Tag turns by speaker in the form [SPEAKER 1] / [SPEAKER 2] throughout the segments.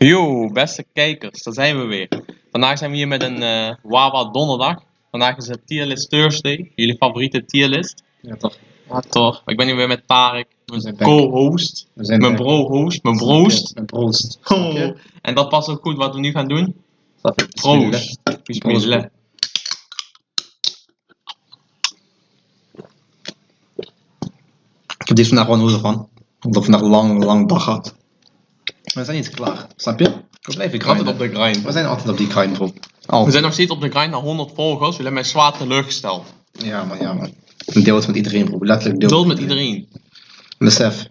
[SPEAKER 1] Yo, beste kijkers, daar zijn we weer. Vandaag zijn we hier met een eh, Wawa Donderdag. Vandaag is het Tierlist Thursday, jullie favoriete tierlist.
[SPEAKER 2] Ja, toch.
[SPEAKER 1] Toch? Ik ben hier weer met Tarek,
[SPEAKER 2] zijn
[SPEAKER 1] mijn
[SPEAKER 2] back.
[SPEAKER 1] co-host,
[SPEAKER 2] We zijn
[SPEAKER 1] mijn
[SPEAKER 2] back.
[SPEAKER 1] bro-host, mijn broost.
[SPEAKER 2] Een proost.
[SPEAKER 1] Oh, En dat past ook goed wat we nu gaan doen. Proost. Bismillah.
[SPEAKER 2] Ik heb deze vandaag gewoon hoeden van. Omdat ik vandaag lang, lang dag had. Maar we zijn niet klaar. Snap je? We blijven grinden.
[SPEAKER 1] Altijd op de grind.
[SPEAKER 2] We zijn altijd op die grind, bro. Al.
[SPEAKER 1] We zijn nog steeds op de grind naar 100 volgers, jullie hebben mij zwaar teleurgesteld.
[SPEAKER 2] Ja, man, ja, man. Een deel het met iedereen, bro. Letterlijk deel.
[SPEAKER 1] Geduld met iedereen.
[SPEAKER 2] Besef.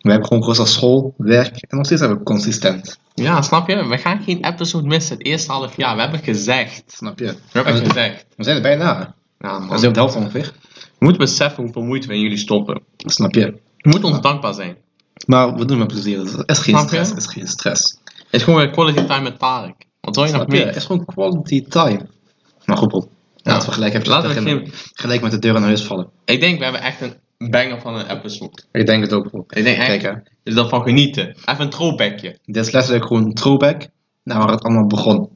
[SPEAKER 2] We hebben gewoon rustig school, werk en nog steeds hebben we consistent.
[SPEAKER 1] Ja, snap je? We gaan geen episode missen het eerste half jaar. We hebben gezegd.
[SPEAKER 2] Snap je?
[SPEAKER 1] We hebben
[SPEAKER 2] En we,
[SPEAKER 1] gezegd.
[SPEAKER 2] we zijn er bijna.
[SPEAKER 1] Ja,
[SPEAKER 2] We
[SPEAKER 1] man.
[SPEAKER 2] zijn op de helft ongeveer.
[SPEAKER 1] We moeten beseffen hoeveel moeite we in jullie stoppen.
[SPEAKER 2] Snap je?
[SPEAKER 1] Je moet ons dankbaar zijn.
[SPEAKER 2] Maar we doen het met plezier. Dus Het is geen
[SPEAKER 1] Snap je?
[SPEAKER 2] stress. Het is geen stress.
[SPEAKER 1] Het is gewoon weer quality time met Tarek. Wat wil je nog
[SPEAKER 2] Snap je? Het
[SPEAKER 1] meer?
[SPEAKER 2] is gewoon quality time. Maar goed, bro. Laten we gelijk even
[SPEAKER 1] Laten we
[SPEAKER 2] beginnen. gelijk met de deur in huis vallen.
[SPEAKER 1] Ik denk, we hebben echt een banger van een episode.
[SPEAKER 2] Ik denk het ook, bro.
[SPEAKER 1] Ik denk echt,
[SPEAKER 2] Kijk, hè.
[SPEAKER 1] is dat van genieten. Even een throwbackje.
[SPEAKER 2] Dit is letterlijk gewoon een throwback naar waar het allemaal begon.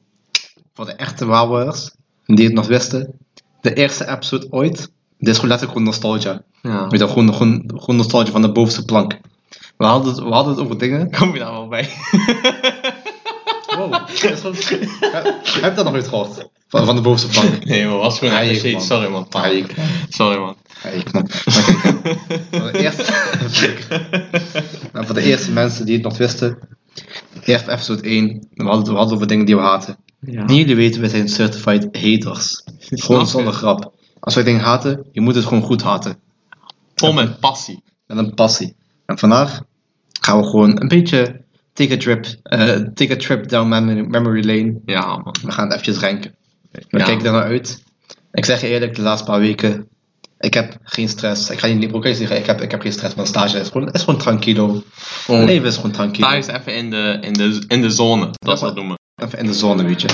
[SPEAKER 2] Voor de echte Wawers, die het nog wisten. De eerste episode ooit. Dit is gewoon letterlijk gewoon nostalgia.
[SPEAKER 1] Ja.
[SPEAKER 2] Weet je, wel, gewoon, gewoon, gewoon nostalgia van de bovenste plank. We hadden het, we hadden het over dingen.
[SPEAKER 1] Kom je daar wel bij?
[SPEAKER 2] Wow, dat is wel- heb, heb je dat nog nooit gehoord? Van, van de bovenste plank.
[SPEAKER 1] nee, man, was gewoon
[SPEAKER 2] Ja,
[SPEAKER 1] echt
[SPEAKER 2] ik,
[SPEAKER 1] shit.
[SPEAKER 2] man.
[SPEAKER 1] Sorry, man.
[SPEAKER 2] Ja,
[SPEAKER 1] Tarek.
[SPEAKER 2] ik, man.
[SPEAKER 1] Sorry, man.
[SPEAKER 2] Ja, ik, man. Maar kijk, voor de eerste... Nou, voor de eerste mensen die het nog wisten, eerst episode 1, we hadden, we hadden over dingen die we haten.
[SPEAKER 1] Ja.
[SPEAKER 2] En jullie weten, we zijn certified haters. Gewoon
[SPEAKER 1] je?
[SPEAKER 2] zonder grap. Als wij dingen haten, je moet het gewoon goed haten.
[SPEAKER 1] Vol met passie.
[SPEAKER 2] Met een passie. En vandaag gaan we gewoon een beetje take a trip, eh, take a trip down memory, memory lane.
[SPEAKER 1] Ja, man.
[SPEAKER 2] We gaan het eventjes ranken. We
[SPEAKER 1] Ja.
[SPEAKER 2] kijken daarnaar nou uit. Ik zeg je eerlijk, de laatste paar weken, ik heb geen stress. Ik ga niet in die broekjes zeggen, ik heb, ik heb geen stress, mijn stage is gewoon, is gewoon tranquilo.
[SPEAKER 1] Gewoon
[SPEAKER 2] Mijn leven is gewoon tranquilo.
[SPEAKER 1] thuis even in de, in de, in de zone. Dat zou ik noemen.
[SPEAKER 2] Even in de zone, weet je.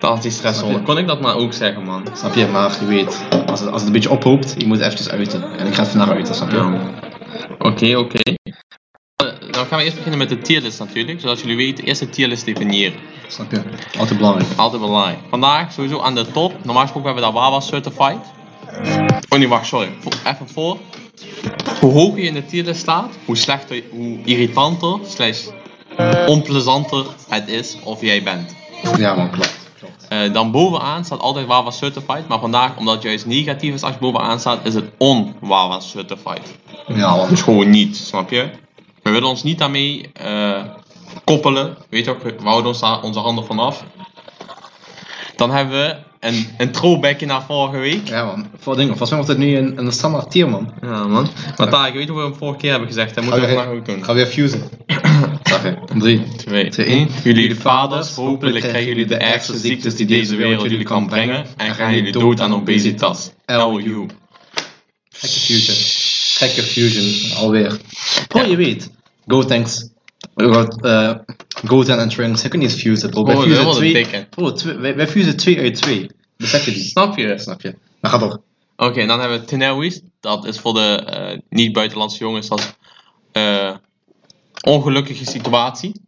[SPEAKER 1] Dat is die stresszone.
[SPEAKER 2] Snap je?
[SPEAKER 1] Kon ik dat maar ook zeggen, man?
[SPEAKER 2] Snap je? Maar je weet, als het, als het een beetje ophoopt, je moet het eventjes uiten. En ik ga het vandaag uiten, snap je?
[SPEAKER 1] Ja, man. Oké, oké. Eh, Dan gaan we eerst beginnen met de tierlist natuurlijk, zodat jullie weten, eerst de tierlist definiëren.
[SPEAKER 2] Snap je? Altijd belangrijk.
[SPEAKER 1] Altijd belangrijk. Vandaag sowieso aan de top. Normaal gesproken hebben we daar Wawa Certified. Oh nee, wacht, sorry. Vo- Even voor. Hoe hoger je in de tierlist staat, hoe slechter, hoe irritanter, slash onplezanter het is of jij bent.
[SPEAKER 2] Ja man, klopt. klopt.
[SPEAKER 1] Eh, dan bovenaan staat altijd Wawa Certified, maar vandaag, omdat het juist negatief is als je bovenaan staat, is het on-Wawa Certified.
[SPEAKER 2] Ja man.
[SPEAKER 1] Dus gewoon niet, snap je? We willen ons niet daarmee eh, koppelen. Weet je ook, we houden ons daar onze handen vanaf. Dan hebben we een, een throwbackje naar vorige week.
[SPEAKER 2] Ja man. Voor dingen. Volgens mij wordt het nu een, een standaard tier man.
[SPEAKER 1] Ja man. Maar Tarek, weet je hoe we hem vorige keer hebben gezegd? Dat moeten we vandaag ook doen.
[SPEAKER 2] Ga weer fusen. Snap je? Drie.
[SPEAKER 1] Twee,
[SPEAKER 2] Twee,
[SPEAKER 1] één.
[SPEAKER 2] één.
[SPEAKER 1] Jullie vaders, hopelijk krijgen jullie de ergste ziektes die deze wereld jullie kan brengen. En gaan jullie dood aan obesitas. LU.
[SPEAKER 2] Gekke fusion. Gekke fusion. Alweer. Bro, je weet. Go thanks. Uh, Goten en Trunks, ze kunnen niet eens fusen bro. Wij
[SPEAKER 1] Oh, dat
[SPEAKER 2] fusen
[SPEAKER 1] was een
[SPEAKER 2] twee-
[SPEAKER 1] dikke.
[SPEAKER 2] Bro, twee- wij, wij fusen 2 uit 2. Besef je die?
[SPEAKER 1] Snap je?
[SPEAKER 2] Snap je? Maar ga door.
[SPEAKER 1] Oké, dan hebben we Tenawies. Dat is voor de eh, niet-buitenlandse jongens. Dat is eh, ongelukkige situatie.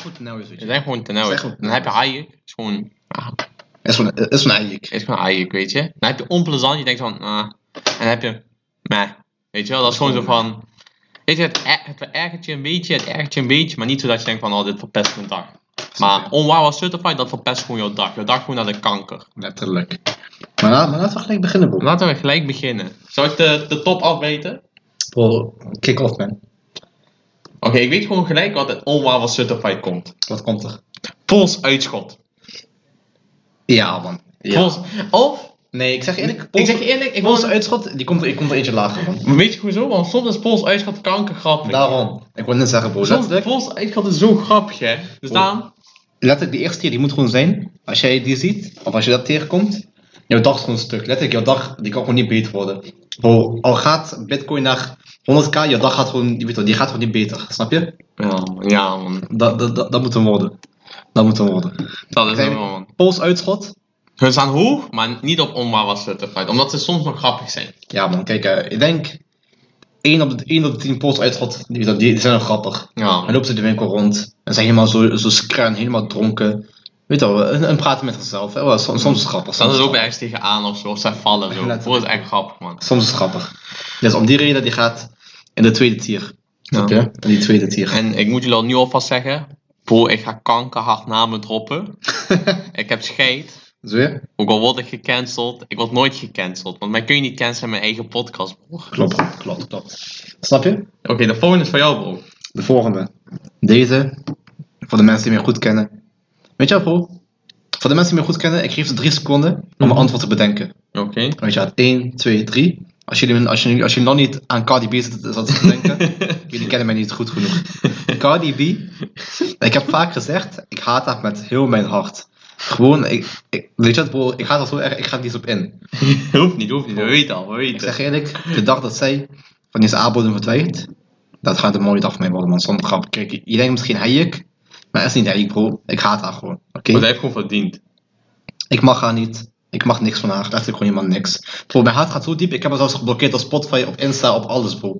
[SPEAKER 2] Goed, nou is het.
[SPEAKER 1] Het zijn gewoon
[SPEAKER 2] Het
[SPEAKER 1] Tenawies.
[SPEAKER 2] zijn gewoon
[SPEAKER 1] Dan heb je Hayek. Het is gewoon, ah, het
[SPEAKER 2] Is van, is van eigenlijk.
[SPEAKER 1] is gewoon Hayek, weet je. Dan heb je onplezant. Je denkt van, ah. En dan heb je, meh. Weet je wel, dat is gewoon zo van... Weet je, het, er- het verergert je een beetje, het ergert je een beetje. Maar niet zodat je denkt van, oh, dit verpest mijn dag. Maar onwaar was certified, dat verpest gewoon jouw dag. Jouw dag gewoon naar de kanker.
[SPEAKER 2] Letterlijk. Maar, la- maar laten we gelijk beginnen, bro.
[SPEAKER 1] Laten we gelijk beginnen. Zou ik de, de top afweten?
[SPEAKER 2] Bro, kick off, man.
[SPEAKER 1] Oké, ik weet gewoon gelijk wat het onwaar was certified komt.
[SPEAKER 2] Wat komt er?
[SPEAKER 1] Pols uitschot.
[SPEAKER 2] Ja, man.
[SPEAKER 1] Pols. Of,
[SPEAKER 2] Nee, ik zeg eerlijk.
[SPEAKER 1] ik zeg je eerlijk, ik was
[SPEAKER 2] Onze uitschot, die komt, er- die komt er eentje lager, man.
[SPEAKER 1] Weet je hoezo? Want soms is Pols uitschot kankergrappig.
[SPEAKER 2] Daarom. Ik wil net zeggen, bro.
[SPEAKER 1] soms
[SPEAKER 2] Letterlijk,
[SPEAKER 1] Pols uitschot is zo grappig, hè? Dus daarom,
[SPEAKER 2] letterlijk, die eerste keer, die moet gewoon zijn. Als jij die ziet, of als je dat tegenkomt, jouw dag is gewoon stuk. Letterlijk, jouw dag, die kan gewoon niet beter worden. Bro, al gaat bitcoin naar 100k, jouw dag gaat gewoon, je weet wel, die gaat gewoon niet beter. Snap je?
[SPEAKER 1] ja man, ja, man.
[SPEAKER 2] Dat, dat, dat, dat moet hem worden. Dat moet hem worden.
[SPEAKER 1] dat is
[SPEAKER 2] Kijk,
[SPEAKER 1] helemaal man.
[SPEAKER 2] Pols uitschot,
[SPEAKER 1] Hun staan hoog, maar niet op onwaar was certified. Omdat ze soms nog grappig zijn.
[SPEAKER 2] Ja man, kijk, eh, ik denk één op de, één op de 10 posts uitschot, die, die, die zijn wel grappig.
[SPEAKER 1] Ja.
[SPEAKER 2] Dan lopen ze de winkel rond en zijn helemaal zo, zo skruin, helemaal dronken. Weet je wel, en, en praten met zichzelf. Hè? Wel, Soms, soms is het grappig.
[SPEAKER 1] Staan
[SPEAKER 2] Soms,
[SPEAKER 1] ze ook ergens tegenaan of zo, of zij vallen zo.
[SPEAKER 2] Letterlijk.
[SPEAKER 1] Dat is echt grappig, man.
[SPEAKER 2] soms is het grappig. Dus om die reden, die gaat in de tweede tier. Snap je? In die tweede tier.
[SPEAKER 1] En ik moet jullie al nu alvast zeggen, bro, ik ga kankerhard namen droppen. ik heb scheid.
[SPEAKER 2] Zo weer?
[SPEAKER 1] Ook al word ik gecanceld, ik word nooit gecanceld. Want mij kun je niet cancelen in mijn eigen podcast, bro. Oké,
[SPEAKER 2] Klopt, klopt, klopt. Snap je?
[SPEAKER 1] de volgende is van jou, bro.
[SPEAKER 2] De volgende. Deze. Voor de mensen die mij goed kennen. Weet je wel, bro? Voor de mensen die mij goed kennen, ik geef ze drie seconden om een
[SPEAKER 1] Mhm.
[SPEAKER 2] antwoord te bedenken.
[SPEAKER 1] Oké.
[SPEAKER 2] Weet je wel, 1, 2, 3. Als jullie, als, jullie, als jullie nog niet aan Cardi B zitten zat te denken, jullie kennen mij niet goed genoeg. Cardi B, ik heb vaak gezegd, ik haat haar met heel mijn hart. Gewoon, ik, ik, weet je wat, bro, ik haat haar zo erg, ik ga er niet op in.
[SPEAKER 1] hoeft niet, hoeft niet. We weten al, we
[SPEAKER 2] Ik
[SPEAKER 1] weten.
[SPEAKER 2] zeg je eerlijk, de dag dat zij van deze aanbodem verdwijnt, dat gaat een mooie dag voor mij worden, man. Zonder grap. Kijk, je denkt misschien heik, maar het is niet heik, bro. Ik haat haar gewoon, oké?
[SPEAKER 1] Want hij heeft gewoon verdiend.
[SPEAKER 2] Ik mag haar niet. Ik mag niks van haar. Eigenlijk gewoon helemaal niks. Bro, mijn haat gaat zo diep. Ik heb haar zelfs geblokkeerd op Spotify, op Insta, op alles, bro.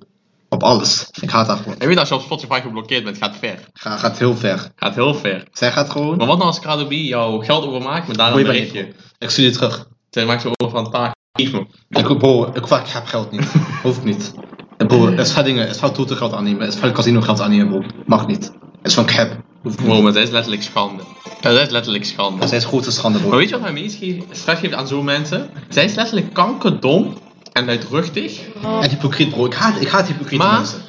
[SPEAKER 2] Op alles. Ik haat haar gewoon.
[SPEAKER 1] En weet je, als je op Spotify geblokkeerd bent, gaat ver.
[SPEAKER 2] Ga, gaat heel ver.
[SPEAKER 1] Gaat heel ver.
[SPEAKER 2] Zij gaat gewoon...
[SPEAKER 1] Maar wat nou als Cardo B jouw geld overmaakt met daarna een
[SPEAKER 2] Goeie bericht.
[SPEAKER 1] berichtje?
[SPEAKER 2] Ik stuur je terug.
[SPEAKER 1] Zij maakt ze over van taak. Geef me.
[SPEAKER 2] Ik, bro, ik, ik heb geld niet. Hoeft niet. En Bro, het is van dingen. Het is van toeter geld aannemen. Het is van casino geld aannemen, bro. Mag niet. Het is van cap. Hoeft niet.
[SPEAKER 1] Bro, maar dat is letterlijk schande. Dat is letterlijk schande.
[SPEAKER 2] Zij is grote schande, bro.
[SPEAKER 1] Maar weet je wat mij meest ge- stress geeft aan zo'n mensen? Zij is letterlijk kankerdom en luidruchtig.
[SPEAKER 2] En hypocriet, bro. Ik haat, ik haat hypocriete
[SPEAKER 1] Maar-
[SPEAKER 2] mensen.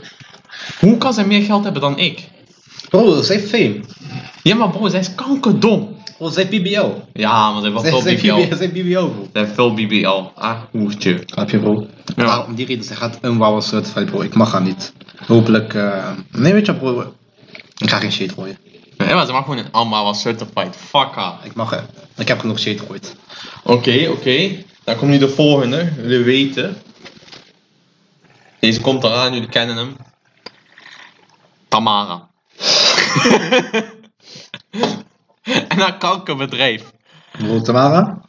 [SPEAKER 1] Hoe kan zij meer geld hebben dan ik?
[SPEAKER 2] Bro, zij heeft fame.
[SPEAKER 1] Ja, maar bro, zij is kankerdom.
[SPEAKER 2] Bro, zij heeft BBL.
[SPEAKER 1] Ja, maar zij
[SPEAKER 2] Zij,
[SPEAKER 1] heeft wel
[SPEAKER 2] zij,
[SPEAKER 1] BBL.
[SPEAKER 2] BBL, zij heeft BBL, bro.
[SPEAKER 1] Zij heeft veel BBL. Ah, hoertje.
[SPEAKER 2] Snap je, bro?
[SPEAKER 1] Ja.
[SPEAKER 2] Maar om die reden, zij gaat een wauwe soort van, bro. Ik mag haar niet. Hopelijk, eh, Nee, weet je, wat, bro. Ik ga geen shade gooien.
[SPEAKER 1] Nee, maar ze mag gewoon een Amma was certified. Fuck haar.
[SPEAKER 2] Ik mag... eh, Ik heb genoeg shade gegooid.
[SPEAKER 1] Oké, oké. Dan komt nu de volgende. Jullie weten. Deze komt eraan, jullie kennen hem. Tamara. en haar kankerbedrijf.
[SPEAKER 2] Bro, Tamara?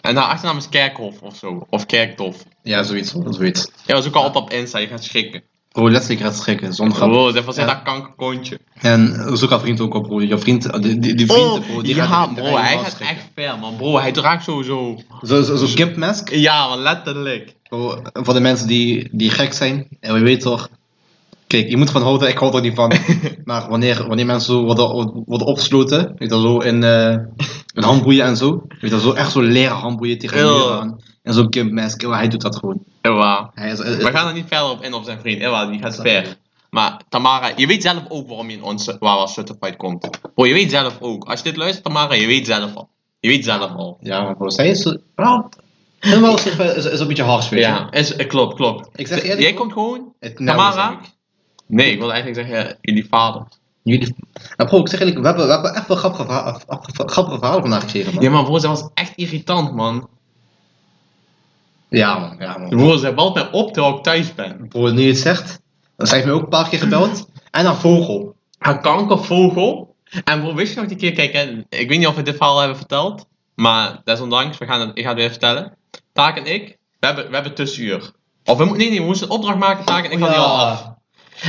[SPEAKER 1] En haar achternaam is Kerkhof of zo. Of Kerkdof.
[SPEAKER 2] Ja, zoiets, bro. Zoiets.
[SPEAKER 1] Ja, was ook al op op Insta, je gaat schrikken.
[SPEAKER 2] Bro, letterlijk gaat schrikken. Zonder grap.
[SPEAKER 1] Wow, dat was echt
[SPEAKER 2] Ja.
[SPEAKER 1] dat kankerkontje.
[SPEAKER 2] En zoek haar vriend ook op, bro. Je vriend... eh, Die, die, die vriend, bro. Die
[SPEAKER 1] Oh, ja,
[SPEAKER 2] gaat,
[SPEAKER 1] bro, hij gaat echt ver, man. Bro, hij draagt sowieso...
[SPEAKER 2] Zo'n zo, zo gimp mask.
[SPEAKER 1] Ja, maar letterlijk.
[SPEAKER 2] Voor, voor de mensen die, die gek zijn, en we weten toch. Kijk, je moet van houden, ik hou er niet van. maar wanneer, wanneer mensen zo worden, worden opgesloten, weet je wel, zo in, eh in handboeien en zo. Weet je wel, zo echt zo leren handboeien tegen de
[SPEAKER 1] Ew.
[SPEAKER 2] muur aan. En zo'n gimpmask, eeuw, hij doet dat gewoon.
[SPEAKER 1] Ewa.
[SPEAKER 2] Hij is, eh,
[SPEAKER 1] We gaan er niet verder op in op zijn vriend. Ewa, die gaat ver. Maar Tamara, je weet zelf ook waarom je in onze Wawa Certified komt. Bro, je weet zelf ook. Als je dit luistert, Tamara, je weet zelf al. Je weet zelf al.
[SPEAKER 2] Ja, maar bro, zij is zo... Wel, en wel is, is, is een beetje hars, weet je.
[SPEAKER 1] Ja, is, eh, klopt, klopt.
[SPEAKER 2] Ik zeg eerlijk,
[SPEAKER 1] Jij
[SPEAKER 2] bro.
[SPEAKER 1] komt gewoon...
[SPEAKER 2] Het nou
[SPEAKER 1] Tamara?
[SPEAKER 2] is ik.
[SPEAKER 1] Nee, ik wil eigenlijk zeggen, jullie vader.
[SPEAKER 2] Jullie... Nou, bro, ik zeg eerlijk, we hebben, we hebben echt wel grappige, verha- grappige verhalen vandaag gekregen, man.
[SPEAKER 1] Ja, maar bro, zij was echt irritant, man.
[SPEAKER 2] Ja, man. Ja, man.
[SPEAKER 1] Bro, zij belt mij op terwijl ik thuis ben.
[SPEAKER 2] Bro, nu je het zegt, dan zijn we ook een paar keer gebeld. En een vogel.
[SPEAKER 1] Haar kankervogel. En bro, wist je nog die keer, kijk, hè, ik weet niet of we dit verhaal hebben verteld. Maar desondanks, we gaan het, ik ga het weer vertellen. Taak en ik, we hebben, we hebben tussenuur. Of we, moeten- nee, nee, we moesten een opdracht maken, Taak en ik had
[SPEAKER 2] Oh
[SPEAKER 1] die al af.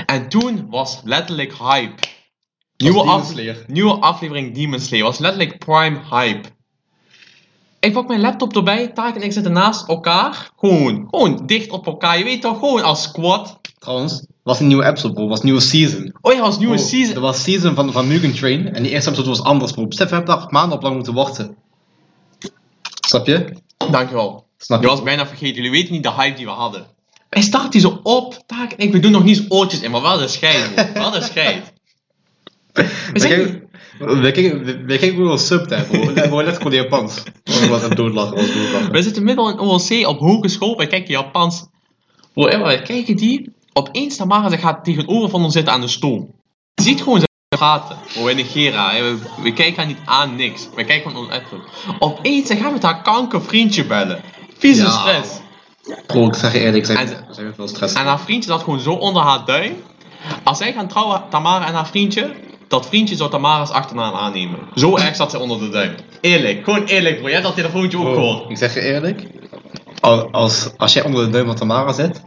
[SPEAKER 1] En toen was letterlijk hype. Nieuwe,
[SPEAKER 2] Demon
[SPEAKER 1] af-
[SPEAKER 2] Slayer.
[SPEAKER 1] nieuwe aflevering Demon Slayer was letterlijk prime hype. Ik pak mijn laptop erbij, Taak en ik zitten naast elkaar. Gewoon, gewoon dicht op elkaar. Je weet toch, gewoon als squad.
[SPEAKER 2] Trouwens, was een nieuwe episode, bro. Was een nieuwe season.
[SPEAKER 1] Oh ja, als nieuwe
[SPEAKER 2] Bro,
[SPEAKER 1] season.
[SPEAKER 2] Er was season van, van Mugen Train. En die eerste episode was anders, bro. Besef, we hebben daar maanden op lang moeten wachten. Snap je?
[SPEAKER 1] Dankjewel.
[SPEAKER 2] Snap
[SPEAKER 1] Je
[SPEAKER 2] je?
[SPEAKER 1] was bijna vergeten, jullie weten niet de hype die we hadden. Wij starten zo op, taak en ik, we doen nog niet eens oortjes in, maar wel de scheid. bro. Wel de scheid.
[SPEAKER 2] We
[SPEAKER 1] zijn
[SPEAKER 2] keken- we keken- we- we keken wel sub daar, bro. We waren letterlijk in Japans. Oh, Wat een doodlachen was, doodlachen.
[SPEAKER 1] We zitten middel in OLC op hogeschool, wij kijken Japans. Bro, en wij kijken die, opeens Tamara ze gaat tegenover van ons zitten aan de stoel. Je ziet gewoon zijn gaten. Bro, wij negeren haar, hè. we, we kijken haar niet aan, niks. We kijken gewoon ons Opeens, ze gaat met haar kankervriendje bellen. Vieze
[SPEAKER 2] Ja.
[SPEAKER 1] stress.
[SPEAKER 2] Bro, ik zeg je eerlijk, zij
[SPEAKER 1] En-
[SPEAKER 2] zij hebben veel stress.
[SPEAKER 1] En haar vriendje zat gewoon zo onder haar duim. Als zij gaan trouwen, Tamara en haar vriendje, dat vriendje zou Tamara's achternaam aannemen. Zo erg zat zij onder de duim. Eerlijk, gewoon eerlijk bro. Jij hebt dat
[SPEAKER 2] Oh.
[SPEAKER 1] telefoontje ook
[SPEAKER 2] Bro,
[SPEAKER 1] gehoord.
[SPEAKER 2] Ik zeg je eerlijk, al- als, als jij onder de duim van Tamara zit,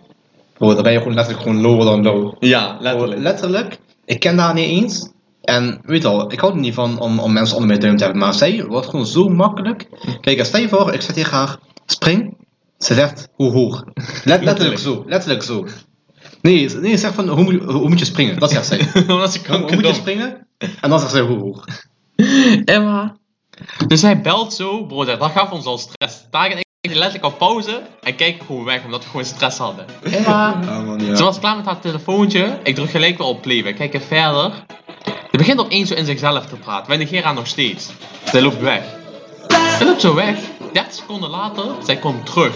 [SPEAKER 2] Bro, dan ben je gewoon letterlijk gewoon lower dan low.
[SPEAKER 1] Ja,
[SPEAKER 2] Bro,
[SPEAKER 1] letterlijk.
[SPEAKER 2] letterlijk, ik ken daar niet eens. En weet je al, ik hou er niet van om, om mensen onder mijn duim te hebben. Maar zij wordt gewoon zo makkelijk. Kijk, stel je voor, ik zet tegen haar, spring. Ze zegt, hoe hoog? Let, letterlijk zo, letterlijk zo. Nee, ze- nee, ze zegt van, hoe moet, je- hoe moet je springen? Dat zegt zij.
[SPEAKER 1] Omdat ze
[SPEAKER 2] Hoe Oh. moet
[SPEAKER 1] kanker
[SPEAKER 2] je springen? En dan zegt zij, hoe hoog?
[SPEAKER 1] Emma. Dus hij belt zo, bro, dat, dat gaf ons al stress. Daar en ik letterlijk op pauze en kijk gewoon weg, omdat we gewoon stress hadden. Emma.
[SPEAKER 2] Ja, Ah, man,
[SPEAKER 1] Ze
[SPEAKER 2] ja.
[SPEAKER 1] was klaar met haar telefoontje. Ik druk gelijk weer op play. We kijken verder. Ze begint opeens zo in zichzelf te praten. Wij negeren haar nog steeds. Zij loopt weg. Zij loopt zo weg. 30 seconden later, zij komt terug.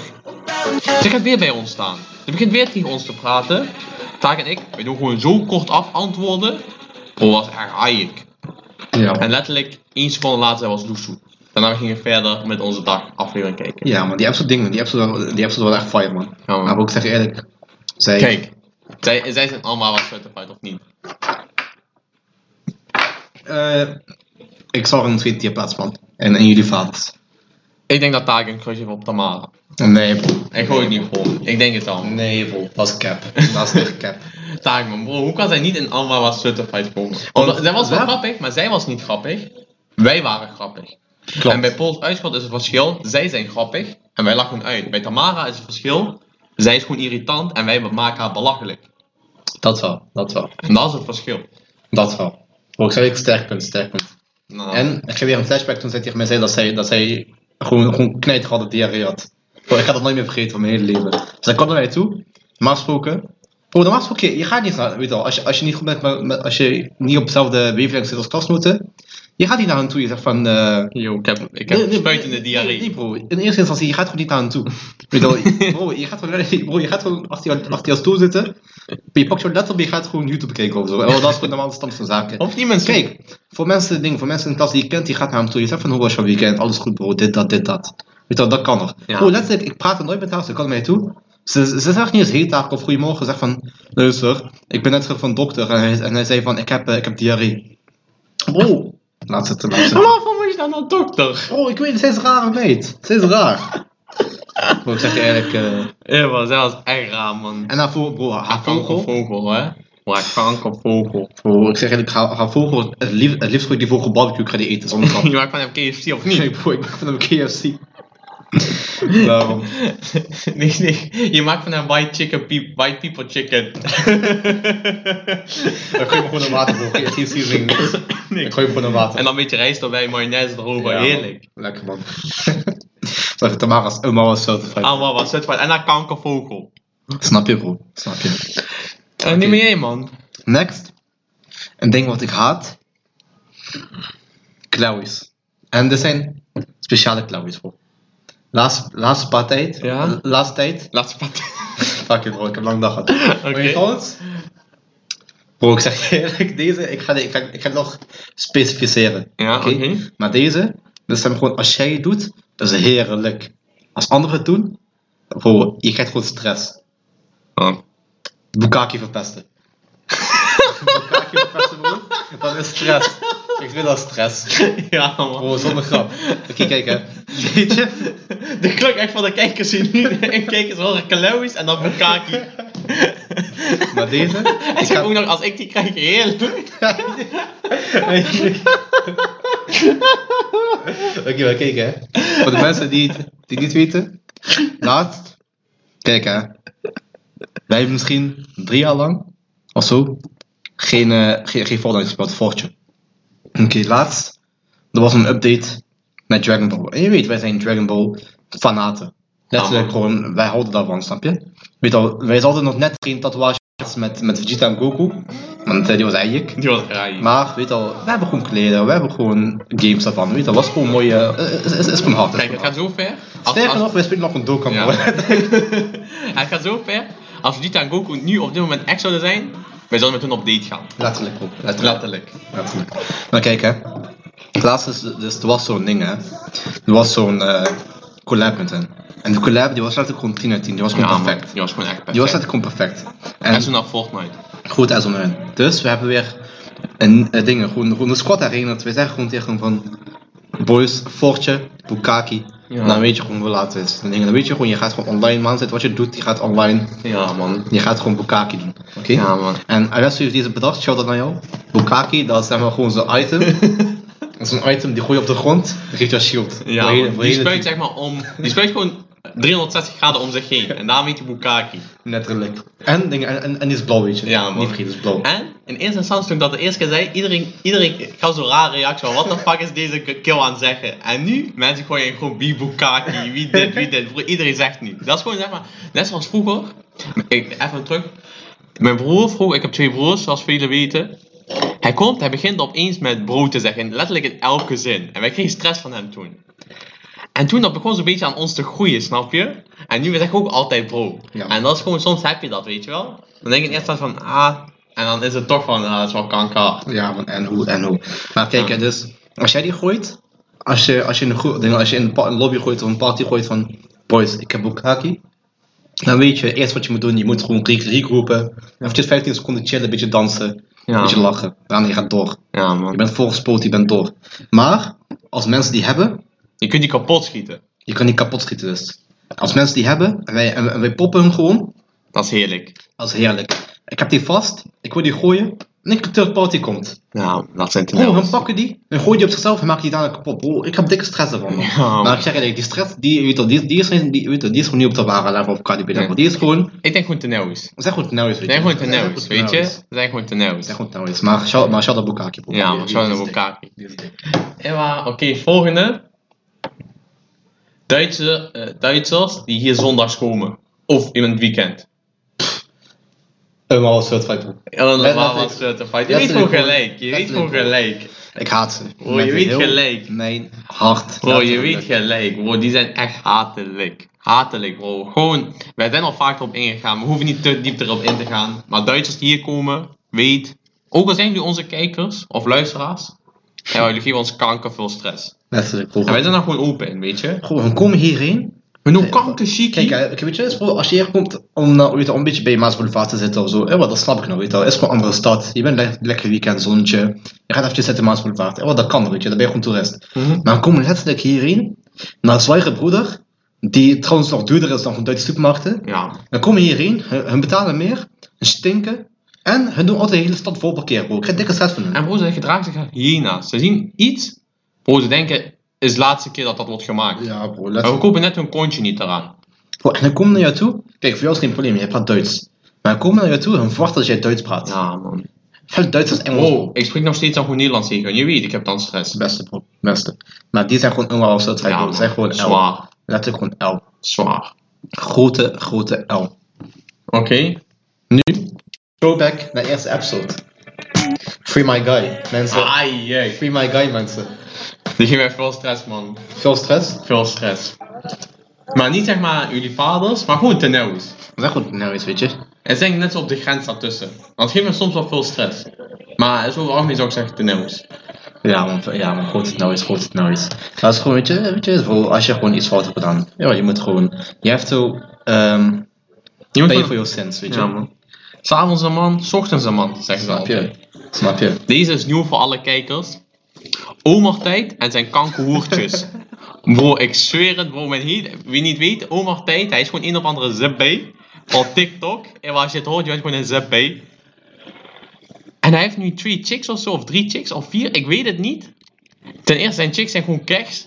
[SPEAKER 1] Ze gaat weer bij ons staan. Ze begint weer tegen ons te praten. Taak en ik, we doen gewoon zo kort af antwoorden. Bro, wat ik.
[SPEAKER 2] Ja.
[SPEAKER 1] En letterlijk, één seconde later, zij was Loesoe. Daarna we gingen verder met onze dag aflevering kijken.
[SPEAKER 2] ja, man, die episode dingen, die episode, die episode was echt fire, man.
[SPEAKER 1] Ja, man.
[SPEAKER 2] Maar ook zeg je eerlijk, zij...
[SPEAKER 1] Kijk, zij, zij zijn allemaal wat uit of niet?
[SPEAKER 2] Eh, ik zag een tweet in je plaats, man. En, en jullie vaders.
[SPEAKER 1] Ik denk dat Taak een crush heeft op Tamara.
[SPEAKER 2] Nee, bro.
[SPEAKER 1] Ik gooi het niet vol. Ik denk het al.
[SPEAKER 2] Nee, bro. Dat is cap. Dat is echt cap.
[SPEAKER 1] Taak man, bro, hoe kan zij niet in Alma was Certified komen?
[SPEAKER 2] Want-
[SPEAKER 1] Omdat- dat was wel
[SPEAKER 2] Ja.
[SPEAKER 1] grappig, maar zij was niet grappig. Wij waren grappig.
[SPEAKER 2] Klopt.
[SPEAKER 1] En bij Pools Uitschot is het verschil, zij zijn grappig en wij lachen uit. Bij Tamara is het verschil, zij is gewoon irritant en wij maken haar belachelijk.
[SPEAKER 2] Dat wel, dat wel.
[SPEAKER 1] En dat is het verschil.
[SPEAKER 2] Dat wel. Bro, ik zei ik sterk punt, sterk punt.
[SPEAKER 1] Nou,
[SPEAKER 2] En ik geef weer een flashback toen zij tegen mij zei dat zij, dat zij gewoon, gewoon knijterharde diarree had. Bro, Oh, ik ga dat nooit meer vergeten van mijn hele leven. Dus zij kwam naar mij toe, normaal gesproken. Bro, normaal gesproken, je gaat niet naar, weet je wel, als je, als je niet goed bent, met, met- als je niet op dezelfde wavelength zit als klasnoten, je gaat niet naar hen toe, je zegt van, eh,
[SPEAKER 1] yo, ik heb, ik heb spuitende diarree.
[SPEAKER 2] Nee, nee, bro. In eerste instantie, je gaat gewoon niet naar hem toe. Weet je wel, bro, je gaat gewoon, bro, je gaat gewoon achter, jou, achter jouw stoel zitten. Je pakt jouw laptop en je gaat gewoon YouTube kijken of zo. En dat is gewoon normaal de stand van zaken.
[SPEAKER 1] Of iemand
[SPEAKER 2] Kijk, voor mensen, ding, voor mensen in de klas die je kent, die gaat naar hem toe. Je zegt van, hoe was jouw weekend? Alles goed, bro. Dit, dat, dit, dat. Weet je wel, dat kan nog.
[SPEAKER 1] Ja.
[SPEAKER 2] Bro, letterlijk, ik praat er nooit met haar. Ze kan naar mij toe. Ze, ze zegt niet eens heet daar of goedemorgen. Ze zegt van, luister, ik ben net terug van dokter. En hij, en hij zei van, ik heb, eh, ik heb diarree. Bro, laat zitten, laat zitten.
[SPEAKER 1] Waarvoor moet je dan naar nou, dokter?
[SPEAKER 2] Oh, ik weet het, ze is raar meid. Ze is raar. Bro, ik zeg je eerlijk. eh,
[SPEAKER 1] Ja, maar zij was echt raar, man.
[SPEAKER 2] en haar vogel, bro, haar, haar vogel.
[SPEAKER 1] Kankervogel, hè? Maar kankervogel.
[SPEAKER 2] Bro, ik zeg eerlijk, haar, haar vogel, het liefst, het liefst wil ik die vogel barbecue ik ga die eten zonder grap.
[SPEAKER 1] Je maakt van hem KFC of niet?
[SPEAKER 2] Nee, bro, ik ben van een KFC. Daarom.
[SPEAKER 1] nee, nee. Je maakt van een white chicken, peop- white people chicken.
[SPEAKER 2] Dan gooi je me gewoon in water, bro. KFC is niks.
[SPEAKER 1] Nee.
[SPEAKER 2] Ik gooi hem gewoon in water.
[SPEAKER 1] En dan een beetje rijst erbij, mayonaise erover,
[SPEAKER 2] Ja, man.
[SPEAKER 1] heerlijk.
[SPEAKER 2] Lekker, man. Zeg, Tamara's oma was zo tevreden.
[SPEAKER 1] Ah, wat was het van? En dan kankervogel.
[SPEAKER 2] Snap je, bro. Snap je.
[SPEAKER 1] En Eh, niet meer jij, man.
[SPEAKER 2] Next. Een ding wat ik haat. Klauwies. En er zijn speciale klauwies voor. Laatst, laatste paar tijd.
[SPEAKER 1] Ja?
[SPEAKER 2] Laatste tijd.
[SPEAKER 1] Laatste part.
[SPEAKER 2] Fuck it bro, ik heb lang dag gehad. Oké.
[SPEAKER 1] Oké.
[SPEAKER 2] Bro, ik zeg je eerlijk, deze, ik ga, ik ga, ik ga het nog specificeren.
[SPEAKER 1] Ja, oké.
[SPEAKER 2] Maar deze, dat zijn gewoon, als jij het doet, dat is heerlijk. Als anderen het doen, bro, je krijgt gewoon stress. Oh. Bukaki verpesten. Bukaki verpesten, bro. Dat is stress. Ik vind dat stress.
[SPEAKER 1] Ja, man.
[SPEAKER 2] Bro, zonder grap. Oké, kijk hè. Weet je?
[SPEAKER 1] De klok echt van de kijkers hier nu. En kijkers horen Kalewis en dan Bukaki.
[SPEAKER 2] Maar deze?
[SPEAKER 1] En
[SPEAKER 2] Ik
[SPEAKER 1] zeg ook
[SPEAKER 2] ga...
[SPEAKER 1] nog, als ik die krijg, heerlijk.
[SPEAKER 2] Oké, maar kijk hè. Voor de mensen die het die het niet weten. Laatst. Kijk hè. Wij hebben misschien drie jaar lang, of zo, geen, eh, geen, geen Fortnite gespeeld. Fortje. Oké, laatst. Er was een update naar Dragon Ball. En je weet, wij zijn Dragon Ball fanaten. Letterlijk
[SPEAKER 1] Ja,
[SPEAKER 2] gewoon, wij houden daarvan, snap je? Weet al, wij hadden nog net geen tatoeage met, met Vegeta en Goku. Want eh, die was eigenlijk.
[SPEAKER 1] Die was raar. hier.
[SPEAKER 2] Maar, weet al, we hebben gewoon kleden, we hebben gewoon games daarvan. Weet al, was gewoon mooi. eh, eh, is, is, is gewoon hard. is
[SPEAKER 1] Kijk,
[SPEAKER 2] gewoon
[SPEAKER 1] het
[SPEAKER 2] hard.
[SPEAKER 1] gaat zo ver. Als-
[SPEAKER 2] Sterker
[SPEAKER 1] als-
[SPEAKER 2] nog, wij spelen nog een Dokkan.
[SPEAKER 1] Ja.
[SPEAKER 2] Ja.
[SPEAKER 1] Hij gaat zo ver. Als Vegeta en Goku nu op dit moment echt zouden zijn, wij zouden met hun op date gaan.
[SPEAKER 2] Letterlijk, bro. Letterlijk.
[SPEAKER 1] Letterlijk.
[SPEAKER 2] Natuurlijk. Maar kijk hè. Laatst is, dus er was zo'n ding hè. Er was zo'n eh, collab met hen. En de collab die was letterlijk gewoon 10 uit 10. Die was gewoon
[SPEAKER 1] Ja,
[SPEAKER 2] perfect.
[SPEAKER 1] man. Die was gewoon echt perfect.
[SPEAKER 2] Die was letterlijk gewoon perfect. En
[SPEAKER 1] En zo naar Fortnite.
[SPEAKER 2] goed als om hun. Dus we hebben weer een, eh, dingen, gewoon, gewoon een squad herinnerd. We zeggen gewoon tegen hem van... Boys, Fortje, Bukaki.
[SPEAKER 1] Ja.
[SPEAKER 2] Dan weet je gewoon hoe laat het is. Dan denk ik, dan weet je gewoon, je gaat gewoon online man zitten. Wat je doet, je gaat online.
[SPEAKER 1] Ja, man.
[SPEAKER 2] Je gaat gewoon Bukaki doen. Oké?
[SPEAKER 1] Ja, man.
[SPEAKER 2] En Alessio heeft deze bedacht, shout out naar jou. Bukaki, dat is zeg maar gewoon zo'n item. Dat is een item die gooi je op de grond, dan geeft je een shield.
[SPEAKER 1] Ja,
[SPEAKER 2] Voor hele-
[SPEAKER 1] man.
[SPEAKER 2] voor
[SPEAKER 1] die
[SPEAKER 2] hele-
[SPEAKER 1] spuit zeg maar om. Die spuit gewoon 360 graden om zich heen. En daarmee die Bukaki.
[SPEAKER 2] Letterlijk. En, dingen- en, en, en die is blauw, weet je.
[SPEAKER 1] Ja, man.
[SPEAKER 2] Niet vergeten, is blauw.
[SPEAKER 1] En in eerste instantie toen ik dat de eerste keer zei, iedereen, iedereen ik had zo'n rare reactie van wat de fuck is deze k- kill aan het zeggen. En nu, mensen gooien gewoon wie Bukaki, wie dit, wie dit. Broer, iedereen zegt nu. Dat is gewoon zeg maar, net zoals vroeger. Ik, even terug. Mijn broer vroeg, ik heb twee broers, zoals velen weten. Hij komt, hij begint opeens met bro te zeggen, letterlijk in elke zin. En wij kregen stress van hem toen. En toen dat begon zo'n beetje aan ons te groeien, snap je? En nu zeg ik ook altijd bro.
[SPEAKER 2] Ja.
[SPEAKER 1] En dat is gewoon, soms heb je dat, weet je wel? Dan denk ik eerst dan van, ah, en dan is het toch van, ah, dat is wel kanker.
[SPEAKER 2] Ja, man, en hoe, en hoe. Maar kijk,
[SPEAKER 1] Ja.
[SPEAKER 2] hè, dus als jij die gooit, als je, als je, in, een groep- denk, als je in een pa- een lobby gooit of een party gooit van boys, ik heb Bukaki, dan weet je eerst wat je moet doen. Je moet gewoon re- regroepen, eventjes 15 seconden chillen, een beetje dansen, een beetje
[SPEAKER 1] Ja,
[SPEAKER 2] lachen. Daarna je gaat door.
[SPEAKER 1] ja
[SPEAKER 2] Je
[SPEAKER 1] man.
[SPEAKER 2] bent volgespoot, je bent door. Maar als mensen die hebben,
[SPEAKER 1] Je kunt die kapot schieten.
[SPEAKER 2] je kan die kapot schieten dus. Als mensen die hebben en wij, en, en wij poppen hem gewoon,
[SPEAKER 1] Dat is heerlijk.
[SPEAKER 2] dat is heerlijk. Ik heb die vast, ik wil die gooien en ik een third party komt.
[SPEAKER 1] Ja, dat zijn
[SPEAKER 2] Bro, dan
[SPEAKER 1] tenels.
[SPEAKER 2] pakken die, dan gooien die op zichzelf en maken die dadelijk kapot. Bro, ik heb dikke stress ervan. man.
[SPEAKER 1] Ja,
[SPEAKER 2] Maar
[SPEAKER 1] man.
[SPEAKER 2] ik zeg eerlijk, die stress, die, weet je, die, die, is, geen- die, weet je, die is gewoon niet op de ware level op KDB level.
[SPEAKER 1] Nee.
[SPEAKER 2] Die is gewoon,
[SPEAKER 1] Ik denk gewoon tenels.
[SPEAKER 2] we zijn gewoon tenauwis, weet
[SPEAKER 1] Ze
[SPEAKER 2] je.
[SPEAKER 1] zijn gewoon
[SPEAKER 2] We zijn
[SPEAKER 1] tenels,
[SPEAKER 2] gewoon
[SPEAKER 1] weet je?
[SPEAKER 2] tenauwis.
[SPEAKER 1] Ze zijn gewoon
[SPEAKER 2] We
[SPEAKER 1] tenels.
[SPEAKER 2] zijn gewoon tenauwis, maar shout maar shout out Bukaki, bro.
[SPEAKER 1] Ja,
[SPEAKER 2] Die-
[SPEAKER 1] man,
[SPEAKER 2] die-
[SPEAKER 1] shout out
[SPEAKER 2] die is
[SPEAKER 1] Bukaki.
[SPEAKER 2] dik. Die is dik.
[SPEAKER 1] Ja, oké, volgende. Duitse, eh, Duitsers die hier zondags komen. Of in het weekend.
[SPEAKER 2] Een half soort fight, bro.
[SPEAKER 1] En dan
[SPEAKER 2] Let-
[SPEAKER 1] waar
[SPEAKER 2] let-
[SPEAKER 1] was het te fight. Je
[SPEAKER 2] let-
[SPEAKER 1] weet
[SPEAKER 2] let-
[SPEAKER 1] gewoon
[SPEAKER 2] let-
[SPEAKER 1] gelijk. Je
[SPEAKER 2] let-
[SPEAKER 1] weet gewoon
[SPEAKER 2] let-
[SPEAKER 1] gelijk.
[SPEAKER 2] Ik haat ze.
[SPEAKER 1] Bro,
[SPEAKER 2] Met
[SPEAKER 1] je weet
[SPEAKER 2] heel
[SPEAKER 1] gelijk.
[SPEAKER 2] Mijn hart.
[SPEAKER 1] Bro, je
[SPEAKER 2] Letterlijk.
[SPEAKER 1] weet gelijk. Bro, die zijn echt hatelijk. Hatelijk, bro. Gewoon, wij zijn al vaker op ingegaan. We hoeven niet te diep erop in te gaan. Maar Duitsers die hier komen, weet. Ook al zijn jullie onze kijkers of luisteraars. Ja, jullie geven ons kanker veel stress.
[SPEAKER 2] Letterlijk, bro.
[SPEAKER 1] En wij zijn daar gewoon open in, weet je.
[SPEAKER 2] Gewoon, we komen hierheen.
[SPEAKER 1] We doen kanker chic.
[SPEAKER 2] Kijk, hè, ik weet je, is gewoon- als je hier komt om, nou, weet je, om een beetje bij je Maas Boulevard te zitten of zo, eh, wat, dat snap ik nog, weet je wel. Het is gewoon een andere stad. Je bent le- lekker weekend, zonnetje. Je gaat even zitten in Maas Boulevard. Eh, wat, dat kan, weet je, dan ben je gewoon toerist.
[SPEAKER 1] Mhm.
[SPEAKER 2] Maar we komen letterlijk hierheen, naar Zware Broeder, die trouwens nog duurder is dan van Duitse supermarkten.
[SPEAKER 1] Ja,
[SPEAKER 2] Dan komen hierheen, hun, hun betalen meer, hun stinken en hun doen altijd de hele stad vol parkeer, bro. Ik krijg dikke stress van hun.
[SPEAKER 1] En bro, ze gedragen zich als hyena's. Ze zien iets, bro, ze denken, is de laatste keer dat dat wordt gemaakt.
[SPEAKER 2] Ja, bro,
[SPEAKER 1] En we
[SPEAKER 2] letterlijk.
[SPEAKER 1] kopen net hun kontje niet eraan.
[SPEAKER 2] Bro, en dan komen naar jou toe, kijk, voor jou is het geen probleem, je praat Duits. Maar dan komen naar jou toe en verwachten dat jij Duits praat.
[SPEAKER 1] Ja, man.
[SPEAKER 2] Veel Duits als Engels.
[SPEAKER 1] Bro, ik spreek nog steeds dan goed Nederlands tegen hun. Je weet, ik heb dan stress.
[SPEAKER 2] Het beste, bro. Het beste. Maar die zijn gewoon onwaar of zo.
[SPEAKER 1] Ja,
[SPEAKER 2] Ja,
[SPEAKER 1] man.
[SPEAKER 2] zijn gewoon L.
[SPEAKER 1] Zwaar.
[SPEAKER 2] Letterlijk gewoon L.
[SPEAKER 1] Zwaar.
[SPEAKER 2] Grote, grote L.
[SPEAKER 1] Oké.
[SPEAKER 2] Throwback naar de eerste episode. Free my guy, mensen.
[SPEAKER 1] Ai, jee.
[SPEAKER 2] Free my guy, mensen.
[SPEAKER 1] Die geeft mij veel stress, man.
[SPEAKER 2] Veel stress.
[SPEAKER 1] Veel stress. Maar niet zeg maar jullie vaders, maar gewoon tenauws.
[SPEAKER 2] We zijn goed nou eens, weet je.
[SPEAKER 1] En denk ik net zo op de grens daartussen. Want het geeft me soms wel veel stress. Maar over het algemeen zou ik zeggen tenauws.
[SPEAKER 2] Ja, man. Ja, man. Goed het nou eens, goed het nou eens. Dat is gewoon, weet je, weet je voor als je gewoon iets fout hebt gedaan. Ja, je moet gewoon... Je hebt to ehm
[SPEAKER 1] Je moet
[SPEAKER 2] pay
[SPEAKER 1] gewoon-
[SPEAKER 2] for your sins, weet je.
[SPEAKER 1] Ja, man. S'avonds een man, s ochtends een man, zeggen ze
[SPEAKER 2] Snap
[SPEAKER 1] altijd.
[SPEAKER 2] je? Snap je?
[SPEAKER 1] Deze is nieuw voor alle kijkers. Omar Tijd en zijn kankerhoertjes. bro, ik zweer het, bro. Mijn hele- wie niet weet, Omar Tijd, hij is gewoon een of andere zipbij. Op TikTok. En als je het hoort, je bent gewoon een zipbij. En hij heeft nu twee chicks of zo, of drie chicks, of vier, ik weet het niet. Ten eerste, zijn chicks zijn gewoon keks.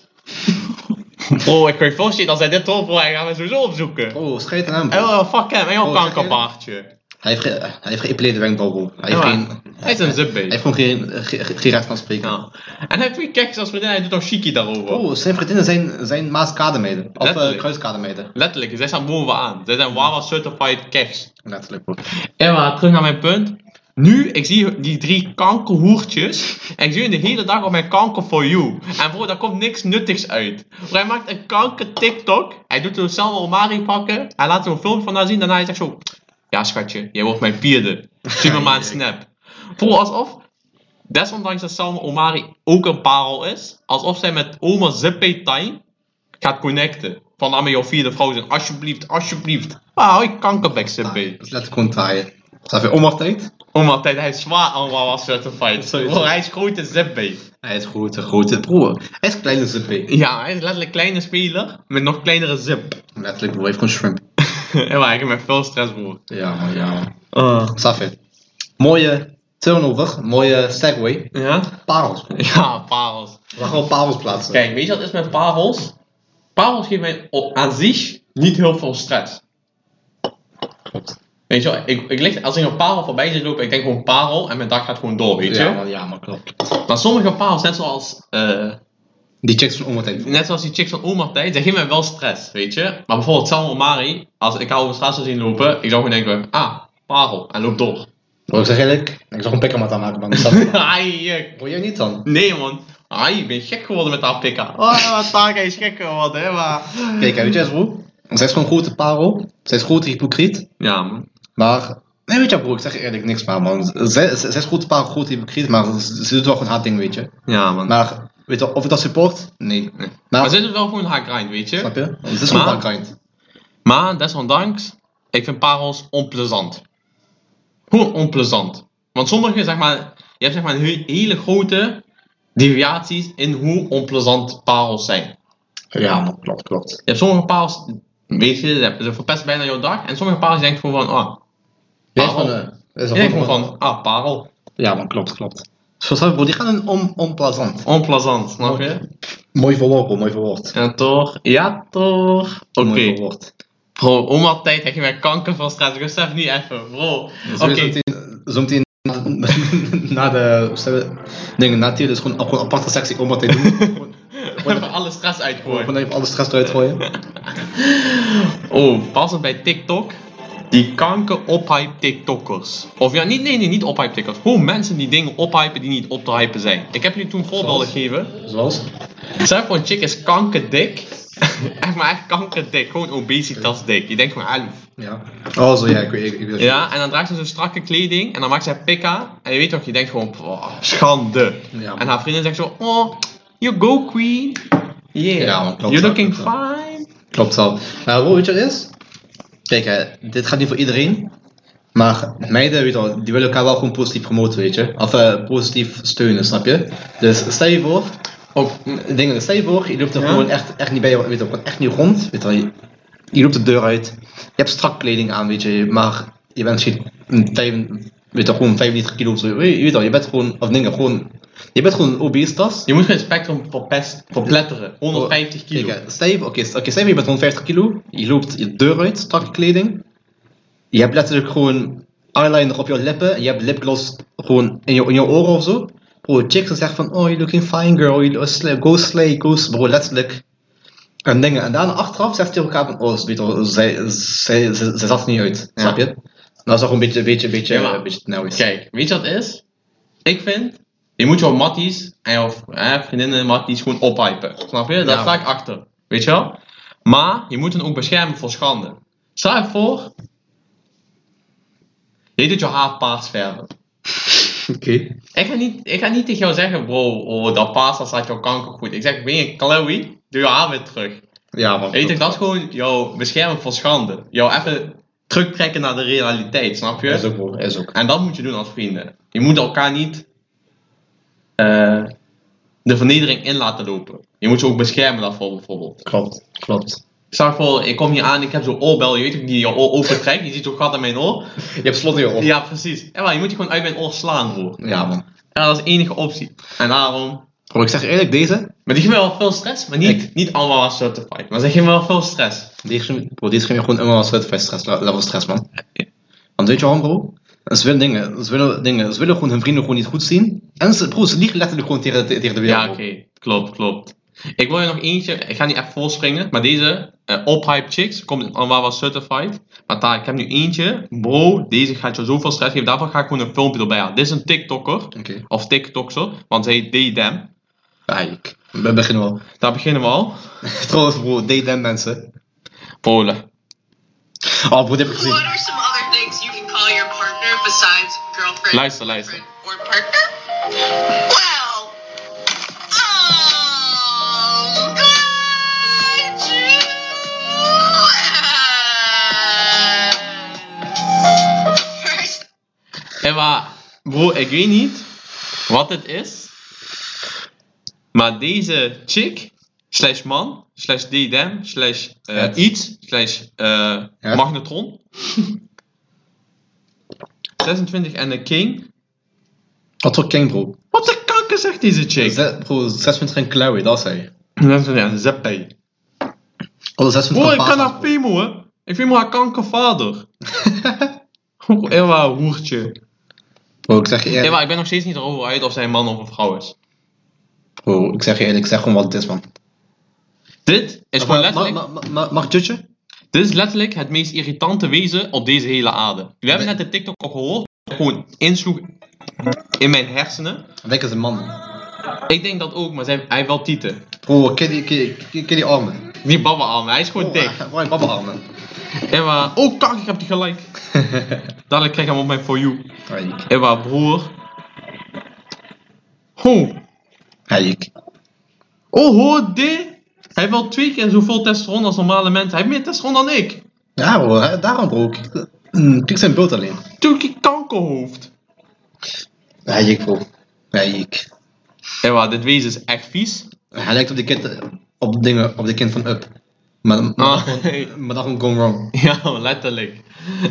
[SPEAKER 1] bro, ik kan je voorstellen, als hij dit hoort, bro, hij gaat me sowieso opzoeken.
[SPEAKER 2] Oh, schijt aan hem,
[SPEAKER 1] En
[SPEAKER 2] bro.
[SPEAKER 1] oh, fuck hem, en jouw
[SPEAKER 2] Oh,
[SPEAKER 1] kankerpaardje.
[SPEAKER 2] Hij heeft, ge- hij heeft geïmpleerde wenkbrauw, bro. Hij heeft
[SPEAKER 1] Ja,
[SPEAKER 2] geen...
[SPEAKER 1] Hij is een zipbij.
[SPEAKER 2] Hij heeft gewoon geen, ge- ge- geen recht van spreken.
[SPEAKER 1] Ja. En hij heeft twee kijkers als vriendin en hij doet nog chiki daarover.
[SPEAKER 2] Oh, zijn vriendinnen zijn, zijn Maaskademeiden. Of eh
[SPEAKER 1] Letterlijk.
[SPEAKER 2] Kruiskademeiden.
[SPEAKER 1] Letterlijk, zij staan bovenaan. Zij zijn Wawa Certified Keks.
[SPEAKER 2] Letterlijk, bro.
[SPEAKER 1] En maar terug naar mijn punt. Nu, ik zie die drie kankerhoertjes. En ik zie hun de hele dag op mijn kanker for you. En bro, daar komt niks nuttigs uit. Bro, hij maakt een kanker TikTok. Hij doet er zelf Omari pakken. Hij laat er een filmpje van haar zien. Daarna hij zegt zo... Ja, schatje, jij wordt mijn vierde. Stuur me maar een snap. Bro, alsof... Desondanks dat Selma Omari ook een parel is. Alsof zij met oma Zippy Time gaat connecten. Van Ah, daarmee jouw vierde vrouw zijn. Alsjeblieft, alsjeblieft. Wauw, ik kankerbek Zippy.
[SPEAKER 2] Dus letterlijk gewoon taaien. Staat weer omhoogtijd.
[SPEAKER 1] Omdat hij, hij is zwaar allemaal was uit de fight.
[SPEAKER 2] Sowieso.
[SPEAKER 1] Bro, hij is groot en zipbeet.
[SPEAKER 2] Hij is grote, grote broer. Hij is dus kleine zippy.
[SPEAKER 1] Ja, hij is letterlijk kleine speler met nog kleinere zip.
[SPEAKER 2] Letterlijk, broer, hij heeft gewoon shrimp.
[SPEAKER 1] en waar ik met veel stress, broer.
[SPEAKER 2] Ja, man, ja, man.
[SPEAKER 1] Ah.
[SPEAKER 2] Staat weer. Mooie turnover, mooie segue.
[SPEAKER 1] Ja?
[SPEAKER 2] Parels. broer.
[SPEAKER 1] Ja, parels.
[SPEAKER 2] We gaan gewoon parels plaatsen.
[SPEAKER 1] Kijk, weet je wat is met parels? Parels geven mij op, aan zich niet heel veel stress. Weet je wel, ik, ik lig, als ik een parel voorbij zit lopen, ik denk gewoon parel en mijn dag gaat gewoon door, weet je
[SPEAKER 2] ja,
[SPEAKER 1] wel.
[SPEAKER 2] man, ja, man, klopt.
[SPEAKER 1] Maar sommige parels, net zoals, eh,
[SPEAKER 2] Die chicks van omhoogtijd.
[SPEAKER 1] net zoals die chicks van oma tijd, zij geven mij wel stress, weet je. Maar bijvoorbeeld Sam Omari, als ik haar over de straat zou zien lopen, ik zou gewoon denken, ah, parel, en loop door.
[SPEAKER 2] Bro, ik zeg eerlijk, ik zag een pikkermat aanmaken, man. Dat-
[SPEAKER 1] Ai, eh,
[SPEAKER 2] Wil jij niet dan?
[SPEAKER 1] nee man, ai, ik ben gek geworden met haar pika. Oh, wat vaak is gek geworden, hè, maar...
[SPEAKER 2] Kijk, weet je, eens, broer. Zij is gewoon grote parel. Zij is grote hypocriet.
[SPEAKER 1] Ja man.
[SPEAKER 2] Maar, nee, weet je, broer, ik zeg eerlijk niks, maar, man. Zij, zij is grote parel, grote hypocriet, maar ze, ze doet wel gewoon haar ding, weet je.
[SPEAKER 1] Ja man.
[SPEAKER 2] Maar, weet je, of ik dat support? Nee.
[SPEAKER 1] Nee.
[SPEAKER 2] Maar-
[SPEAKER 1] Maar ze is wel gewoon haar grind, weet je.
[SPEAKER 2] Snap je? Het is gewoon
[SPEAKER 1] Maar-
[SPEAKER 2] haar grind.
[SPEAKER 1] Maar desondanks, ik vind parels onplezant. Gewoon onplezant. Want sommige, zeg maar, je hebt zeg maar he- hele grote deviaties in hoe onplezant parels zijn.
[SPEAKER 2] Ja, man, klopt, klopt.
[SPEAKER 1] Je hebt sommige parels, weet je, ze- ze verpesten bijna jouw dag. En sommige parels, je denkt gewoon van, ah,
[SPEAKER 2] Jij is
[SPEAKER 1] Parel.
[SPEAKER 2] gewoon, eh, dat
[SPEAKER 1] je
[SPEAKER 2] is een
[SPEAKER 1] denkt
[SPEAKER 2] goede
[SPEAKER 1] gewoon
[SPEAKER 2] man.
[SPEAKER 1] van, ah, parel.
[SPEAKER 2] Ja, man, klopt, klopt. Zoals dat, broer, die gaan een on, onplezant.
[SPEAKER 1] Onplezant, snap je?
[SPEAKER 2] Mooi verwoord, broer, mooi verwoord.
[SPEAKER 1] Ja toch, ja toch. Oké,
[SPEAKER 2] Mooi verwoord.
[SPEAKER 1] bro, oma tijd, hij geeft mij kanker van stress. Ik besef niet even, bro. Oké,
[SPEAKER 2] Oké. Zometeen na, na de hoe zeggen we, dingen na tier is gewoon, gewoon een aparte sectie om wat te doen. Gewoon-
[SPEAKER 1] even alle stress uitgooien.
[SPEAKER 2] Gewoon even alle stress eruit gooien.
[SPEAKER 1] Oh, passend bij TikTok. Die kanker ophype TikTokkers. Of ja, niet, nee, nee, niet ophype TikTokkers. Gewoon mensen die dingen ophypen die niet op te hypen zijn. Ik heb jullie toen voorbeelden
[SPEAKER 2] Zoals?
[SPEAKER 1] gegeven.
[SPEAKER 2] Zoals?
[SPEAKER 1] Zeg voor een chick is kankerdik. echt maar echt kankerdik. Gewoon obesitasdik. Je denkt gewoon elf.
[SPEAKER 2] Ja. Oh, zo ja, ik weet ik, ik weet
[SPEAKER 1] Ja, en dan draagt ze zo'n strakke kleding. En dan maakt ze pika. En je weet toch, je denkt gewoon, "Pwa, schande.
[SPEAKER 2] Ja, man.
[SPEAKER 1] en haar vriendin zegt zo, oh, you go queen. Yeah,
[SPEAKER 2] Ja, man, klopt,
[SPEAKER 1] you're
[SPEAKER 2] ja,
[SPEAKER 1] looking
[SPEAKER 2] klopt,
[SPEAKER 1] fine.
[SPEAKER 2] Klopt wel. Maar broer, weet je wat het is? Kijk, hè, dit gaat niet voor iedereen. Maar meiden, weet je wel, die willen elkaar wel gewoon positief promoten, weet je. Of eh, positief steunen, snap je? Dus stel je voor,
[SPEAKER 1] Ook,
[SPEAKER 2] dingen, stel je voor, je loopt er
[SPEAKER 1] Ja.
[SPEAKER 2] gewoon echt, echt niet bij, weet je wel, gewoon echt niet rond, weet je wel. Je, je loopt de deur uit, je hebt strak kleding aan, weet je, maar je bent misschien een vijf, weet je wel, gewoon 95 kilo of zo. Je, je weet wel, je bent gewoon, of dingen, gewoon, je bent gewoon een obesitas.
[SPEAKER 1] Je moet gewoon het spectrum verpest, verpletteren. 150 kilo.
[SPEAKER 2] Kijk, eh, stel je, oké, st- oké, stel je, je bent 150 kilo, je loopt je deur uit, strakke kleding. Je hebt letterlijk gewoon eyeliner op je lippen en je hebt lipgloss gewoon in je, in je oren of zo. Bro, chicks die zeggen van, oh, you're looking fine girl, you look sl- go slay, go s- Bro, letterlijk. En dingen. En daarna achteraf zegt hij elkaar van, oh, weet je, wel, zij, zij, zij, zij zag er niet uit,
[SPEAKER 1] Ja.
[SPEAKER 2] snap je? Nou, dat is toch een beetje, een beetje, een beetje,
[SPEAKER 1] Ja, maar-
[SPEAKER 2] een beetje nauwelijks.
[SPEAKER 1] Kijk, weet je wat het is? Ik vind, je moet jouw matties en jouw eh, vriendinnen en matties gewoon ophypen. Snap je? Daar
[SPEAKER 2] Ja.
[SPEAKER 1] sta ik achter. Weet je wel? Maar je moet hen ook beschermen voor schande. Stel je voor, je doet je haar paars verven.
[SPEAKER 2] Oké.
[SPEAKER 1] Ik ga, niet, ik ga niet tegen jou zeggen, bro, oh, dat paars, dat staat jouw kanker goed. Ik zeg, ben je Chloe? Doe je haar weer terug.
[SPEAKER 2] Ja, man.
[SPEAKER 1] Weet je, dat is gewoon jouw beschermen voor schande. Jou even terugtrekken naar de realiteit, snap je?
[SPEAKER 2] Is ook, bro, is ook.
[SPEAKER 1] En dat moet je doen als vrienden. Je moet elkaar niet eh, de vernedering in laten lopen. Je moet ze ook beschermen daarvoor bijvoorbeeld.
[SPEAKER 2] Klopt, klopt.
[SPEAKER 1] Ik zag voor, ik kom hier aan, ik heb zo'n oorbel, je weet ook, die je oor opentrekt, je ziet zo'n gat in mijn oor.
[SPEAKER 2] Je hebt slot in je oren.
[SPEAKER 1] Ja, precies. Ja, maar je moet je gewoon uit mijn oor slaan, broer.
[SPEAKER 2] ja man.
[SPEAKER 1] Ja, dat is de enige optie. En daarom...
[SPEAKER 2] Bro, ik zeg je eerlijk, deze,
[SPEAKER 1] Maar die geven wel veel stress, maar niet, niet allemaal als certified. Maar ze geven wel veel stress.
[SPEAKER 2] die is, bro, die is geen gewoon helemaal stress, stress, level stress, man. Want weet je waarom, bro? Ze willen dingen, ze willen dingen, ze willen gewoon hun vrienden gewoon niet goed zien. En ze, bro, ze liegen letterlijk gewoon tegen, tegen de wereld.
[SPEAKER 1] Ja, oké. Klopt, klopt. Ik wil je nog eentje, ik ga niet echt volspringen, maar deze eh Ophype Chicks komt allemaal wel certified. Maar daar, ik heb nu eentje. Bro, deze gaat je zoveel stress geven. Daarvan ga ik gewoon een filmpje erbij halen. Dit is een TikToker,
[SPEAKER 2] Oké.
[SPEAKER 1] of TikTokser, want zij deed them.
[SPEAKER 2] Okay. ik. We beginnen wel.
[SPEAKER 1] Daar beginnen we al.
[SPEAKER 2] Trouwens, bro, date them mensen.
[SPEAKER 1] Polen.
[SPEAKER 2] Oh, bro, dit heb ik gezien.
[SPEAKER 3] What are some other things you can call your partner besides girlfriend,
[SPEAKER 1] Luister, luister.
[SPEAKER 3] boyfriend, or partner? Well, um, graduates. First
[SPEAKER 1] bro, ik weet niet wat het is. Maar deze chick, slash man, slash DDM, slash eh,
[SPEAKER 2] Het.
[SPEAKER 1] iets, slash eh,
[SPEAKER 2] Het.
[SPEAKER 1] magnetron. 26 en een king.
[SPEAKER 2] Wat voor king, bro?
[SPEAKER 1] Wat de kanker zegt deze chick?
[SPEAKER 2] Ze- Bro, 26 en klauwen, dat zei je.
[SPEAKER 1] 26 en zeppij.
[SPEAKER 2] Alle 26
[SPEAKER 1] Bro, ik
[SPEAKER 2] vader,
[SPEAKER 1] kan haar
[SPEAKER 2] bro.
[SPEAKER 1] femo, hè. Ik vind haar kankervader. Ewa, hoertje.
[SPEAKER 2] Bro, ik zeg je eerlijk.
[SPEAKER 1] Ewa, ik ben nog steeds niet erover uit of zij een man of een vrouw is.
[SPEAKER 2] Bro, ik zeg je eerlijk, ik zeg gewoon wat het is, man.
[SPEAKER 1] Dit is gewoon letterlijk...
[SPEAKER 2] Ma- ma- ma- Mag ik judgen?
[SPEAKER 1] Dit is Dus letterlijk het meest irritante wezen op deze hele aarde. We hebben net de TikTok al gehoord. dat Gewoon insloeg in mijn hersenen.
[SPEAKER 2] Ik denk dat is een man.
[SPEAKER 1] Ik denk dat ook, maar zij, hij heeft wel tieten.
[SPEAKER 2] Bro, ken die, ken, ken, ken die armen.
[SPEAKER 1] Die babbelarmen, hij is
[SPEAKER 2] Oh.
[SPEAKER 1] gewoon dik.
[SPEAKER 2] Bro, hij babbelarmen.
[SPEAKER 1] Ewa, oh kak, ik heb die gelijk. Dadelijk krijg ik hem op mijn For You.
[SPEAKER 2] Haik.
[SPEAKER 1] Ewa, broer. Ho,
[SPEAKER 2] Haik.
[SPEAKER 1] oh ho, dit. Hij heeft wel twee keer zoveel testosteron als normale mensen. Hij heeft meer testosteron dan ik.
[SPEAKER 2] Ja bro, hè, daarom bro. Kijk, mm, kijk zijn beeld alleen.
[SPEAKER 1] Turkie kankerhoofd.
[SPEAKER 2] Haik bro. Haik.
[SPEAKER 1] Ewa, dit wezen is echt vies.
[SPEAKER 2] Hij lijkt op die kind, eh, op dingen, op die kind van Up. Maar, maar,
[SPEAKER 1] Ah.
[SPEAKER 2] dan gewoon- maar dan gewoon gone wrong.
[SPEAKER 1] Ja, letterlijk.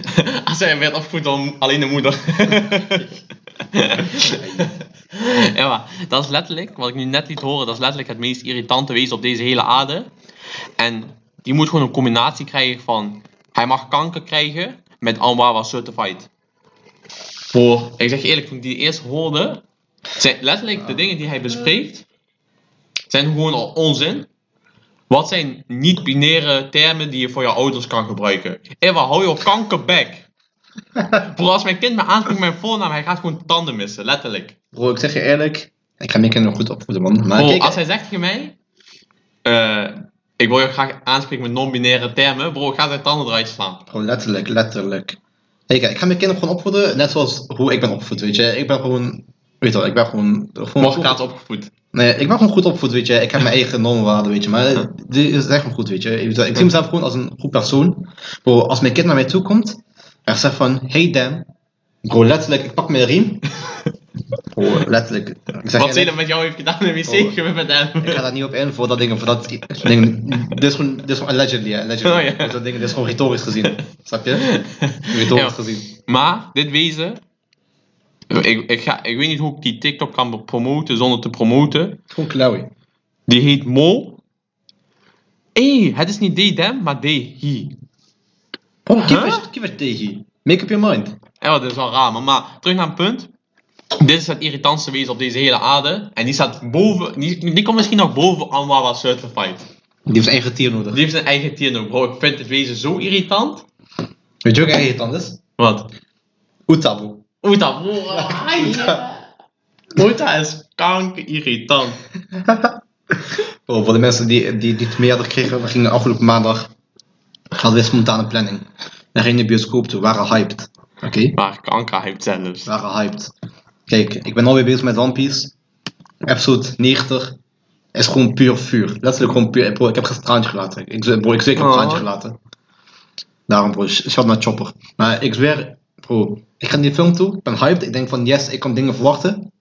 [SPEAKER 1] Als hij werd opgevoed door alleen de moeder. ja, maar dat is letterlijk, wat ik nu net liet horen, dat is letterlijk het meest irritante wezen op deze hele aarde. En die moet gewoon een combinatie krijgen van, hij mag kanker krijgen met Almawa Certified. Voor, ik zeg je eerlijk, toen ik die eerst hoorde, zijn letterlijk de dingen die hij bespreekt, zijn gewoon al onzin. Wat zijn niet-binaire termen die je voor je ouders kan gebruiken? Ewa, hou je kankerbek. Bro, als mijn kind me aanspreekt met mijn voornaam, hij gaat gewoon tanden missen, letterlijk.
[SPEAKER 2] Bro, ik zeg je eerlijk. Ik ga mijn kinderen goed opvoeden man. Maar
[SPEAKER 1] Bro,
[SPEAKER 2] kijk,
[SPEAKER 1] als hij zegt tegen mij, eh, ik wil je graag aanspreken met non-binaire termen, bro, ik ga zijn tanden eruit slaan.
[SPEAKER 2] Gewoon letterlijk, letterlijk. Kijk, ik ga mijn kinderen gewoon opvoeden, net zoals hoe ik ben opgevoed, weet je. Ik ben gewoon, weet je wel, ik ben gewoon... gewoon
[SPEAKER 1] Morgenkaart opgevoed.
[SPEAKER 2] Nee, ik ben gewoon goed opgevoed, weet je. Ik heb mijn eigen normwaarden, weet je. Maar die is echt wel goed, weet je. Ik ik zie mezelf gewoon als een goed persoon. Bro, als mijn kind naar mij toe komt, en zegt van, hey Dan. Bro, letterlijk, ik pak mijn riem. Bro, letterlijk. Ik zeg
[SPEAKER 1] Wat
[SPEAKER 2] eerlijk,
[SPEAKER 1] Zeeland met jou heeft gedaan in de wc,
[SPEAKER 2] Oh.
[SPEAKER 1] gebeurt met hem.
[SPEAKER 2] ik ga daar niet op in voor dat ding, voor dat ding. Dit is gewoon, dit is gewoon allegedly, hè, allegedly.
[SPEAKER 1] Oh, ja.
[SPEAKER 2] Dus dat ding, dit is gewoon retorisch gezien. Snap je? Retorisch
[SPEAKER 1] Ja.
[SPEAKER 2] gezien.
[SPEAKER 1] Maar, dit wezen, ik, ik, ga, ik weet niet hoe ik die TikTok kan promoten zonder te promoten.
[SPEAKER 2] Gewoon klauwie.
[SPEAKER 1] Die heet Mo. Hé, het is niet they them, maar they he.
[SPEAKER 2] Bro, keep
[SPEAKER 1] Huh?
[SPEAKER 2] it- keep it tegen. Make up your mind.
[SPEAKER 1] En wat is wel raar, maar, maar terug naar een punt. Dit is het irritantste wezen op deze hele aarde. En die staat boven, die, die komt misschien nog boven Anwawa Certified.
[SPEAKER 2] Die heeft zijn eigen tier nodig.
[SPEAKER 1] Die heeft zijn eigen tier nog, bro. Ik vind het wezen zo irritant.
[SPEAKER 2] Weet je ook eigen tand is?
[SPEAKER 1] Wat?
[SPEAKER 2] Oeta, bro.
[SPEAKER 1] Oeta, bro. ai. Oeta is kanker irritant.
[SPEAKER 2] Oh, voor de mensen die, die, die het meerder kregen, we gingen afgelopen maandag. Hadden we spontane planning. We gingen de bioscoop toe, we waren hyped. Oké?
[SPEAKER 1] Maar kanker heeft dus. zelfs.
[SPEAKER 2] We waren hyped. Kijk, ik ben alweer bezig met One Piece. Episode 90 is gewoon puur vuur. Letterlijk gewoon puur. Bro, ik heb geen traantje gelaten. Ik, zweer- bro, ik zweer, ik heb een
[SPEAKER 1] Oh.
[SPEAKER 2] traantje gelaten. Daarom, bro, sh- shout naar Chopper. Maar ik zweer, bro, ik ga naar die film toe. Ik ben hyped. Ik denk van, yes, ik kan dingen verwachten.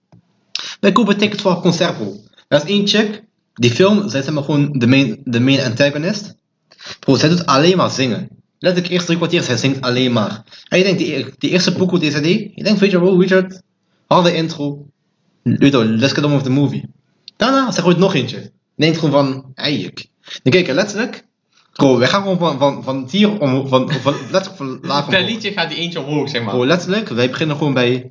[SPEAKER 2] Wij kopen tickets voor een concert, bro. Er is één chick. Die film, zij is maar gewoon de main, de main antagonist. Bro, zij doet alleen maar zingen. Letterlijk, eerst drie kwartier, zij zingt alleen maar. En je denkt, die, die eerste pokoe die zij deed, je denkt, weet je wel, Richard, harde intro. Weet je wel, let's get on with the movie. Daarna, zij gooit nog eentje. Je denkt gewoon van, eik. Dan kijk je letterlijk, bro, wij gaan gewoon van, van, van tier om, van, van, letterlijk van laag
[SPEAKER 1] Per
[SPEAKER 2] omhoog.
[SPEAKER 1] liedje gaat die eentje omhoog, zeg maar.
[SPEAKER 2] Bro, letterlijk, wij beginnen gewoon bij,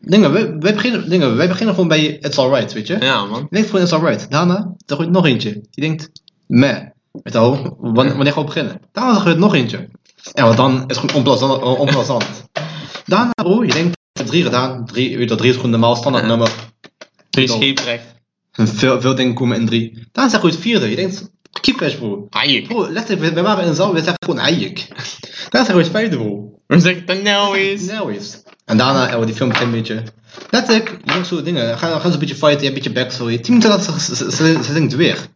[SPEAKER 2] dingen, wij, wij, beginnen, dingen, wij beginnen gewoon bij It's Alright, weet je.
[SPEAKER 1] Ja, man.
[SPEAKER 2] Je denkt van, it's alright. Daarna, er gooit nog eentje. Je denkt, meh. Met al, wanneer, wanneer gaan we beginnen? Daarna er gooit nog eentje. En wat dan is gewoon onplezant. eh, onplezant. Daarna, bro, je denkt, ik heb drie gedaan. Drie, weet je, dat drie is gewoon normaal standaard nummer.
[SPEAKER 1] Drie
[SPEAKER 2] Dol.
[SPEAKER 1] scheeprecht.
[SPEAKER 2] Veel, veel dingen komen in drie. Daarna is er het vierde. Je denkt, keep fresh, bro.
[SPEAKER 1] Ai.
[SPEAKER 2] Bro, letterlijk, we- we waren in een zaal, we zeggen gewoon eik. Daarna is er het vijfde, bro.
[SPEAKER 1] We zeggen het nou eens.
[SPEAKER 2] Nou eens. En daarna, eh, die film begint een beetje. Letterlijk, je doet zo dingen. Dan Gaan, dan gaan ze een beetje fighten, je hebt een beetje backstory. Tien minuten later, ze, ze, ze, ze zingt weer.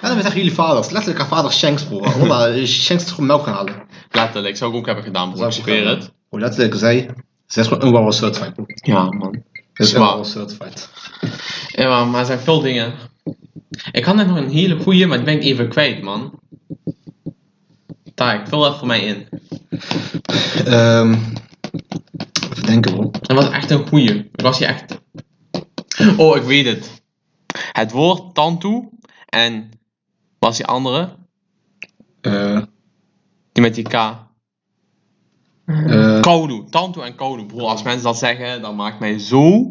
[SPEAKER 2] En dan zeggen jullie vaders. Letterlijk haar vader Shanks, bro. Hola, eh, Shanks is gewoon melk gaan halen.
[SPEAKER 1] Letterlijk, zou ik ook hebben gedaan, bro.
[SPEAKER 2] Zou
[SPEAKER 1] Ik
[SPEAKER 2] ik
[SPEAKER 1] zweer
[SPEAKER 2] gaan-
[SPEAKER 1] het.
[SPEAKER 2] Hoe letterlijk zij. Ze is gewoon unwell certified. bro.
[SPEAKER 1] Ja, man.
[SPEAKER 2] Ze is
[SPEAKER 1] Zwaar.
[SPEAKER 2] unwell certified.
[SPEAKER 1] Ja, maar- maar er zijn veel dingen. Ik had net nog een hele goeie, maar die ben ik even kwijt, man. Daar, ik vul dat voor mij in.
[SPEAKER 2] Ehm even denken, bro.
[SPEAKER 1] Dat was echt een goeie. Ik was hier echt. Oh, ik weet het. Het woord tantoe en. Was die andere?
[SPEAKER 2] Eh
[SPEAKER 1] Die met die K.
[SPEAKER 2] eh,
[SPEAKER 1] Koudu. Tantoe en koudu. Bro, als mensen dat zeggen, dan maakt mij zo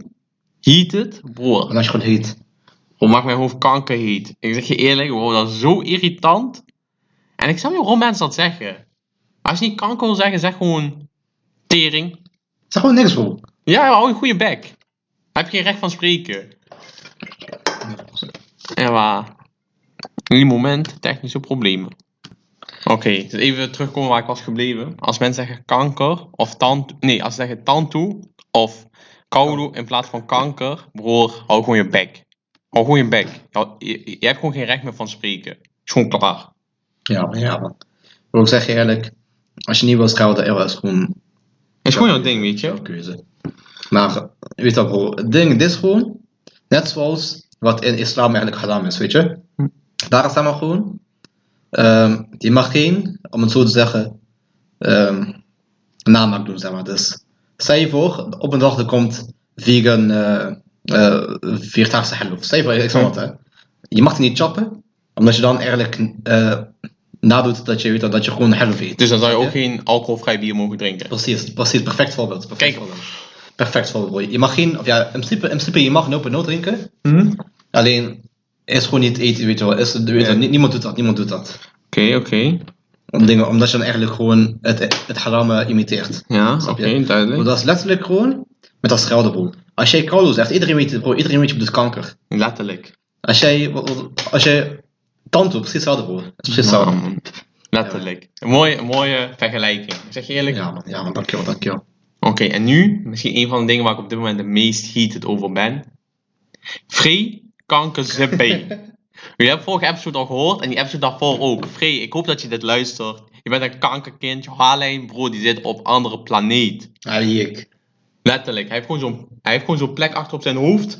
[SPEAKER 1] heated. Bro,
[SPEAKER 2] en als je gewoon heet.
[SPEAKER 1] Bro, maakt mijn hoofd kankerheet. Ik zeg je eerlijk, bro, dat is zo irritant. En ik snap niet waarom mensen dat zeggen. Als je niet kanker wil zeggen, zeg gewoon tering.
[SPEAKER 2] Zeg gewoon niks, bro.
[SPEAKER 1] Ja, hou je goede bek. Daar heb je geen recht van spreken. En waar? In die moment technische problemen. Oké, dus even terugkomen waar ik was gebleven. Als mensen zeggen kanker of tand... Nee, als ze zeggen tantoe of koude in plaats van kanker. Broer, hou gewoon je bek. Hou gewoon je bek. Jou- Je, je hebt gewoon geen recht meer van spreken. Is gewoon klaar.
[SPEAKER 2] Ja, man, ja, man. Bro, ik zeg je eerlijk. Als je niet wil schelden, ja, dat is gewoon
[SPEAKER 1] Is gewoon jouw ding, weet je.
[SPEAKER 2] jouw keuze. Maar, eh, weet dat bro, het ding, dit is gewoon net zoals wat in islam eigenlijk haram is, weet je?
[SPEAKER 1] Hm.
[SPEAKER 2] Daar is het maar gewoon, ehm, je mag geen, om het zo te zeggen, ehm namaak doen, zeg maar. Dus, stel je voor, op een dag er komt vegan, eh eh vierdaagse helft. Stel je voor, ik zeg wat, hè. Je mag die niet chappen, omdat je dan eigenlijk eh, nadoet dat je, weet dat, dat je gewoon helft eet.
[SPEAKER 1] Dus dan zou je ook
[SPEAKER 2] Ja.
[SPEAKER 1] geen alcoholvrij bier mogen drinken.
[SPEAKER 2] Precies, precies, perfect voorbeeld. Perfect
[SPEAKER 1] Kijk.
[SPEAKER 2] voorbeeld. Perfect voorbeeld. Je mag geen, of ja, in principe, in principe je mag een open noot drinken,
[SPEAKER 1] Mhm.
[SPEAKER 2] alleen is gewoon niet eten, weet je wel. Is, weet je wel,
[SPEAKER 1] Ja.
[SPEAKER 2] nie- niemand doet dat, niemand doet dat.
[SPEAKER 1] Oké, oké.
[SPEAKER 2] Om dingen, omdat je dan eigenlijk gewoon het, het haram eh, imiteert.
[SPEAKER 1] Ja, oké,
[SPEAKER 2] Snap je? Bro,
[SPEAKER 1] duidelijk.
[SPEAKER 2] dat is letterlijk gewoon met dat schelden, bro. Als jij koudo zegt, iedereen weet het, bro, iedereen weet je doet kanker.
[SPEAKER 1] Letterlijk.
[SPEAKER 2] Als jij, wat- wat- als jij tand doet, precies hetzelfde, bro. Het is precies
[SPEAKER 1] Ja,
[SPEAKER 2] hetzelfde.
[SPEAKER 1] man. Letterlijk. Een mooie, een mooie vergelijking. Ik zeg je eerlijk.
[SPEAKER 2] Ja man, ja man, dankjewel, dankjewel.
[SPEAKER 1] Oké, en nu misschien een van de dingen waar ik op dit moment de meest heated over ben. Free kanker zippé. Jullie hebben vorige episode al gehoord en die episode daarvoor ook. Free, ik hoop dat je dit luistert. Je bent een kankerkind. Je haarlijn, bro, die zit op andere planeet.
[SPEAKER 2] Ali ik.
[SPEAKER 1] Letterlijk. Hij heeft gewoon zo'n, hij heeft gewoon zo'n plek achter op zijn hoofd.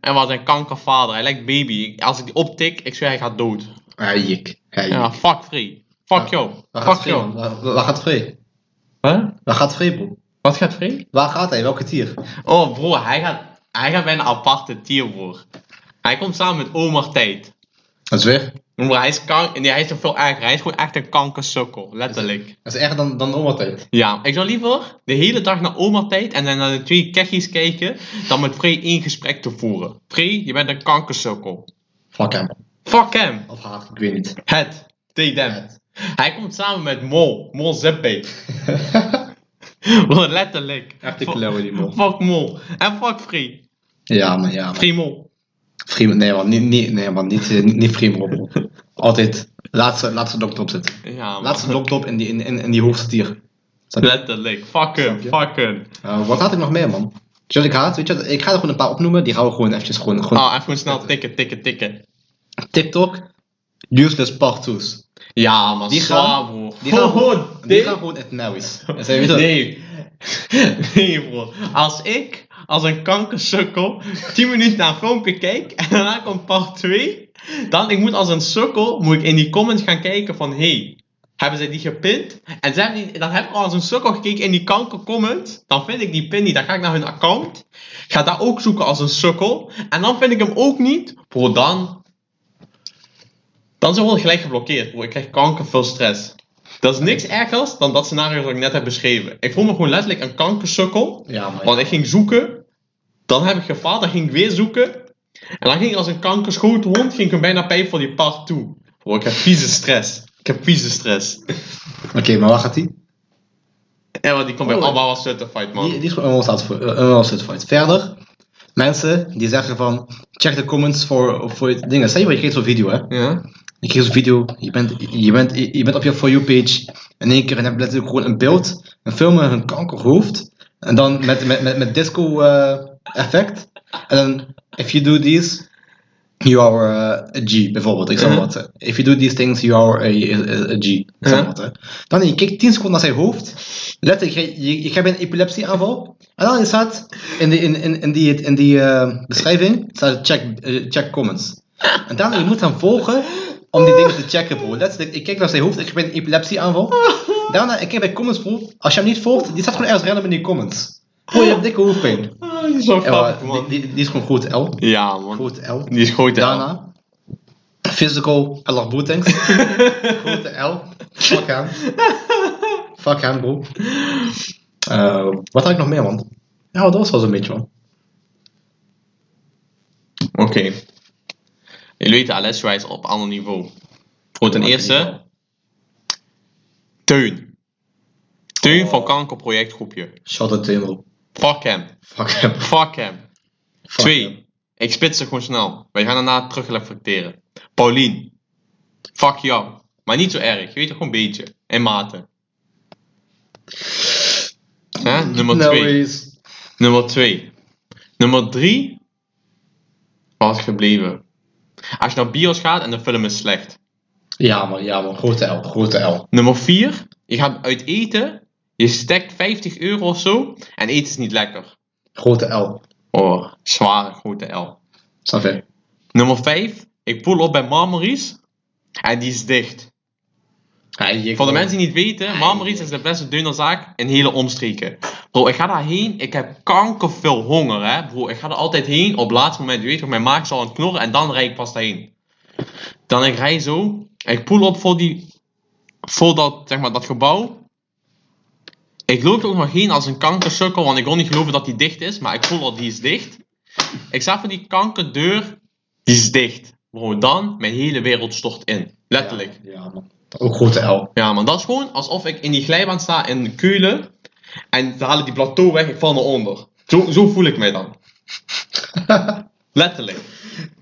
[SPEAKER 1] en was zijn kankervader. Hij lijkt baby. Als ik die optik, ik zweer hij gaat dood.
[SPEAKER 2] Ali ik.
[SPEAKER 1] Ja, fuck Free. Fuck jou.
[SPEAKER 2] Waar
[SPEAKER 1] Fuck
[SPEAKER 2] gaat Free,
[SPEAKER 1] jou.
[SPEAKER 2] man? Waar- Waar gaat Free?
[SPEAKER 1] Huh?
[SPEAKER 2] Waar gaat Free, bro?
[SPEAKER 1] Wat gaat Free?
[SPEAKER 2] Waar gaat hij? Welke tier?
[SPEAKER 1] Oh, bro, hij gaat, hij gaat bij een aparte tier, bro. Hij komt samen met Omar Tijd.
[SPEAKER 2] Dat is weer.
[SPEAKER 1] Bro, hij is, kan nee, hij is nog veel erger. Hij is gewoon echt een kankersukkel, letterlijk.
[SPEAKER 2] Dat is erger dan, dan oma tijd.
[SPEAKER 1] Ja, ik zou liever de hele dag naar Omar Tijd en dan naar de twee kechjes kijken, dan met Free één gesprek te voeren. Free, je bent een kankersukkel.
[SPEAKER 2] Fuck hem.
[SPEAKER 1] Fuck hem.
[SPEAKER 2] Of haar, ik weet niet.
[SPEAKER 1] Het. Take them. Hij komt samen met Mol. Mol Zippé. Bro, letterlijk.
[SPEAKER 2] Echt een klauwe die man.
[SPEAKER 1] Fuck Mol. En fuck Free.
[SPEAKER 2] Ja man, ja man.
[SPEAKER 1] Free Mol.
[SPEAKER 2] Free, nee man, niet, niet, nee, man, niet, eh, niet, niet free bro. Altijd laatste, laatste doktop zitten.
[SPEAKER 1] Ja, man.
[SPEAKER 2] Laatste doktop in die, in, in, in die hoogste tier.
[SPEAKER 1] Letterlijk. Fuck hem,
[SPEAKER 2] Snap
[SPEAKER 1] fuck hem.
[SPEAKER 2] Eh, wat had ik nog meer man? Weet je wat ik haat? Weet je wat- ik ga er gewoon een paar opnoemen. Die gaan we gewoon eventjes gewoon... gewoon
[SPEAKER 1] Ah, even snel tikken, tikken, tikken.
[SPEAKER 2] Ah. TikTok. Useless partoes.
[SPEAKER 1] Ja, maar
[SPEAKER 2] Die
[SPEAKER 1] zwaar,
[SPEAKER 2] gaan-
[SPEAKER 1] bro.
[SPEAKER 2] die gaan
[SPEAKER 1] oh,
[SPEAKER 2] Die
[SPEAKER 1] dit-
[SPEAKER 2] gaan gewoon het nauws.
[SPEAKER 1] Nee. Nee, bro. Als ik, als een kankersukkel, 10 minuten naar een filmpje kijk en daarna komt part 2, dan ik moet als een sukkel moet ik in die comments gaan kijken van hey, hebben zij die gepint? En ze hebben die, dan heb ik al als een sukkel gekeken in die kankercomment. Dan vind ik die pin niet. Dan ga ik naar hun account. Ga daar ook zoeken als een sukkel. En dan vind ik hem ook niet. Bro, dan. Dan zijn we gewoon gelijk geblokkeerd, bro. Ik krijg kanker veel stress. Dat is niks ergers dan dat scenario dat ik net heb beschreven. Ik voel me gewoon letterlijk een kankersukkel.
[SPEAKER 2] Ja man.
[SPEAKER 1] Want ik ging zoeken. Dan heb ik gefaald. Dan ging ik weer zoeken. En dan ging ik als een kankerschoten hond. Ging ik hem bijna pijp voor die part toe. Bro, ik heb vieze stress. Ik heb vieze stress.
[SPEAKER 2] Oké, maar waar gaat die?
[SPEAKER 1] Ja, want die komt bij
[SPEAKER 2] Oh.
[SPEAKER 1] Abba was certified, man.
[SPEAKER 2] Die, die is gewoon een staat voor een website fight. Verder, mensen die zeggen van check de comments voor, voor het dingen. Zeg je wat, je kreeg zo'n video hè.
[SPEAKER 1] Ja.
[SPEAKER 2] Je kreeg zo'n video, je bent, je, bent, je bent op je For You page. In één keer en heb je letterlijk gewoon een beeld, een film met een kankerhoofd. En dan met, met, met, met disco eh, effect. En dan, if you do these, you are eh, a G, bijvoorbeeld. Ik zeg maar
[SPEAKER 1] Ja.
[SPEAKER 2] wat. eh. If you do these things, you are a, a, a G. Ik zeg maar
[SPEAKER 1] Ja.
[SPEAKER 2] wat. hè. Dan je kijkt 10 seconden naar zijn hoofd. Letterlijk, je, je, je hebt een epilepsieaanval. En dan staat in die, in, in, in die, in die eh, beschrijving, staat check, eh, check comments. En dan, je moet hem volgen om die dingen te checken, bro. Letterlijk, ik kijk naar zijn hoofd, ik heb een epilepsieaanval. Daarna, ik kijk bij comments, bro. Als je hem niet volgt, die staat gewoon ergens random in die comments. Bro, je hebt dikke hoofdpijn.
[SPEAKER 1] Ah, die is zo
[SPEAKER 2] Ja, maar
[SPEAKER 1] grappig, man.
[SPEAKER 2] die, die, die is gewoon groot L.
[SPEAKER 1] Ja, man.
[SPEAKER 2] Groot L.
[SPEAKER 1] Die is groot, hè.
[SPEAKER 2] Daarna, physical, I love boot tanks. Grote L. Fuck hem. Fuck hem, bro. Eh, wat had ik nog meer, man? Ja, dat was wel zo'n beetje, man.
[SPEAKER 1] Oké. Jullie weten, Alessio is op ander niveau. Voor ten
[SPEAKER 2] Wat
[SPEAKER 1] eerste, Teun. Teun van Kanker projectgroepje.
[SPEAKER 2] Shout out to him, bro.
[SPEAKER 1] Fuck hem.
[SPEAKER 2] Fuck hem.
[SPEAKER 1] Fuck hem.
[SPEAKER 2] Fuck
[SPEAKER 1] Twee.
[SPEAKER 2] hem.
[SPEAKER 1] Ik spits ze gewoon snel. Wij gaan daarna terug reflecteren. Paulien. Fuck jou. Maar niet zo erg. Je weet toch gewoon een beetje. In mate. Hè? Nummer
[SPEAKER 2] No
[SPEAKER 1] twee.
[SPEAKER 2] worries.
[SPEAKER 1] Nummer 2. Nummer 3 was gebleven. Als je naar bios gaat en de film is slecht.
[SPEAKER 2] Ja, man. Ja, man. Grote L. Grote L.
[SPEAKER 1] Nummer 4. Je gaat uit eten. Je stekt 50 euro of zo. En eten is niet lekker.
[SPEAKER 2] Grote L.
[SPEAKER 1] Oh, zware grote L.
[SPEAKER 2] Snap je?
[SPEAKER 1] Nummer 5. Ik poel op bij Marmaris. En die is dicht.
[SPEAKER 2] Hij- je-
[SPEAKER 1] Voor de mensen die niet weten, Marmaris is de beste deunerzaak in hele omstreken. Bro, ik ga daarheen, ik heb kankerveel honger, hè. Bro, ik ga er altijd heen op het laatste moment. Je weet toch, mijn maag zal aan het knorren en dan rij ik pas daarheen. Dan ik rij zo, ik poel op voor, die, voor dat, zeg maar, dat gebouw. Ik loop er ook nog heen als een kankersukkel, want ik wil niet geloven dat die dicht is. Maar ik voel al, die is dicht. Ik sta voor die kankerdeur, die is dicht. Bro, dan, mijn hele wereld stort in. Letterlijk.
[SPEAKER 2] Ja, man. Ook grote L.
[SPEAKER 1] Ja, man, dat is gewoon alsof ik in die glijbaan sta in Keulen. En ze halen die plateau weg, ik val naar onder. Zo, zo voel ik mij dan. Letterlijk.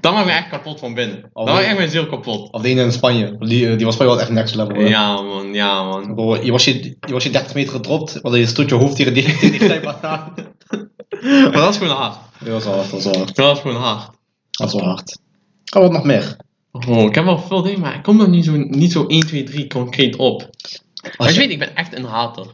[SPEAKER 1] Dan maak ik me echt kapot van binnen. Dan maak ik echt mijn ziel kapot.
[SPEAKER 2] Of die ene in eh, Spanje. Die, die was Spanje wel echt next level. hè.
[SPEAKER 1] Oh, Ja, man, ja, man.
[SPEAKER 2] Bro, je was je, je was je 30 meter gedropt, want je stoot je hoofd tegen die, tegen die glijbaan aan.
[SPEAKER 1] Maar dat is gewoon hard.
[SPEAKER 2] Dat was wel hard, dat was wel hard.
[SPEAKER 1] Dat is gewoon hard.
[SPEAKER 2] Dat was wel hard. Oh, wat nog meer?
[SPEAKER 1] Oh, ik heb wel veel dingen, maar ik kom er niet zo, niet zo 1, 2, 3 concreet op. Maar
[SPEAKER 2] Als
[SPEAKER 1] je
[SPEAKER 2] je,
[SPEAKER 1] weet, ik ben echt een hater.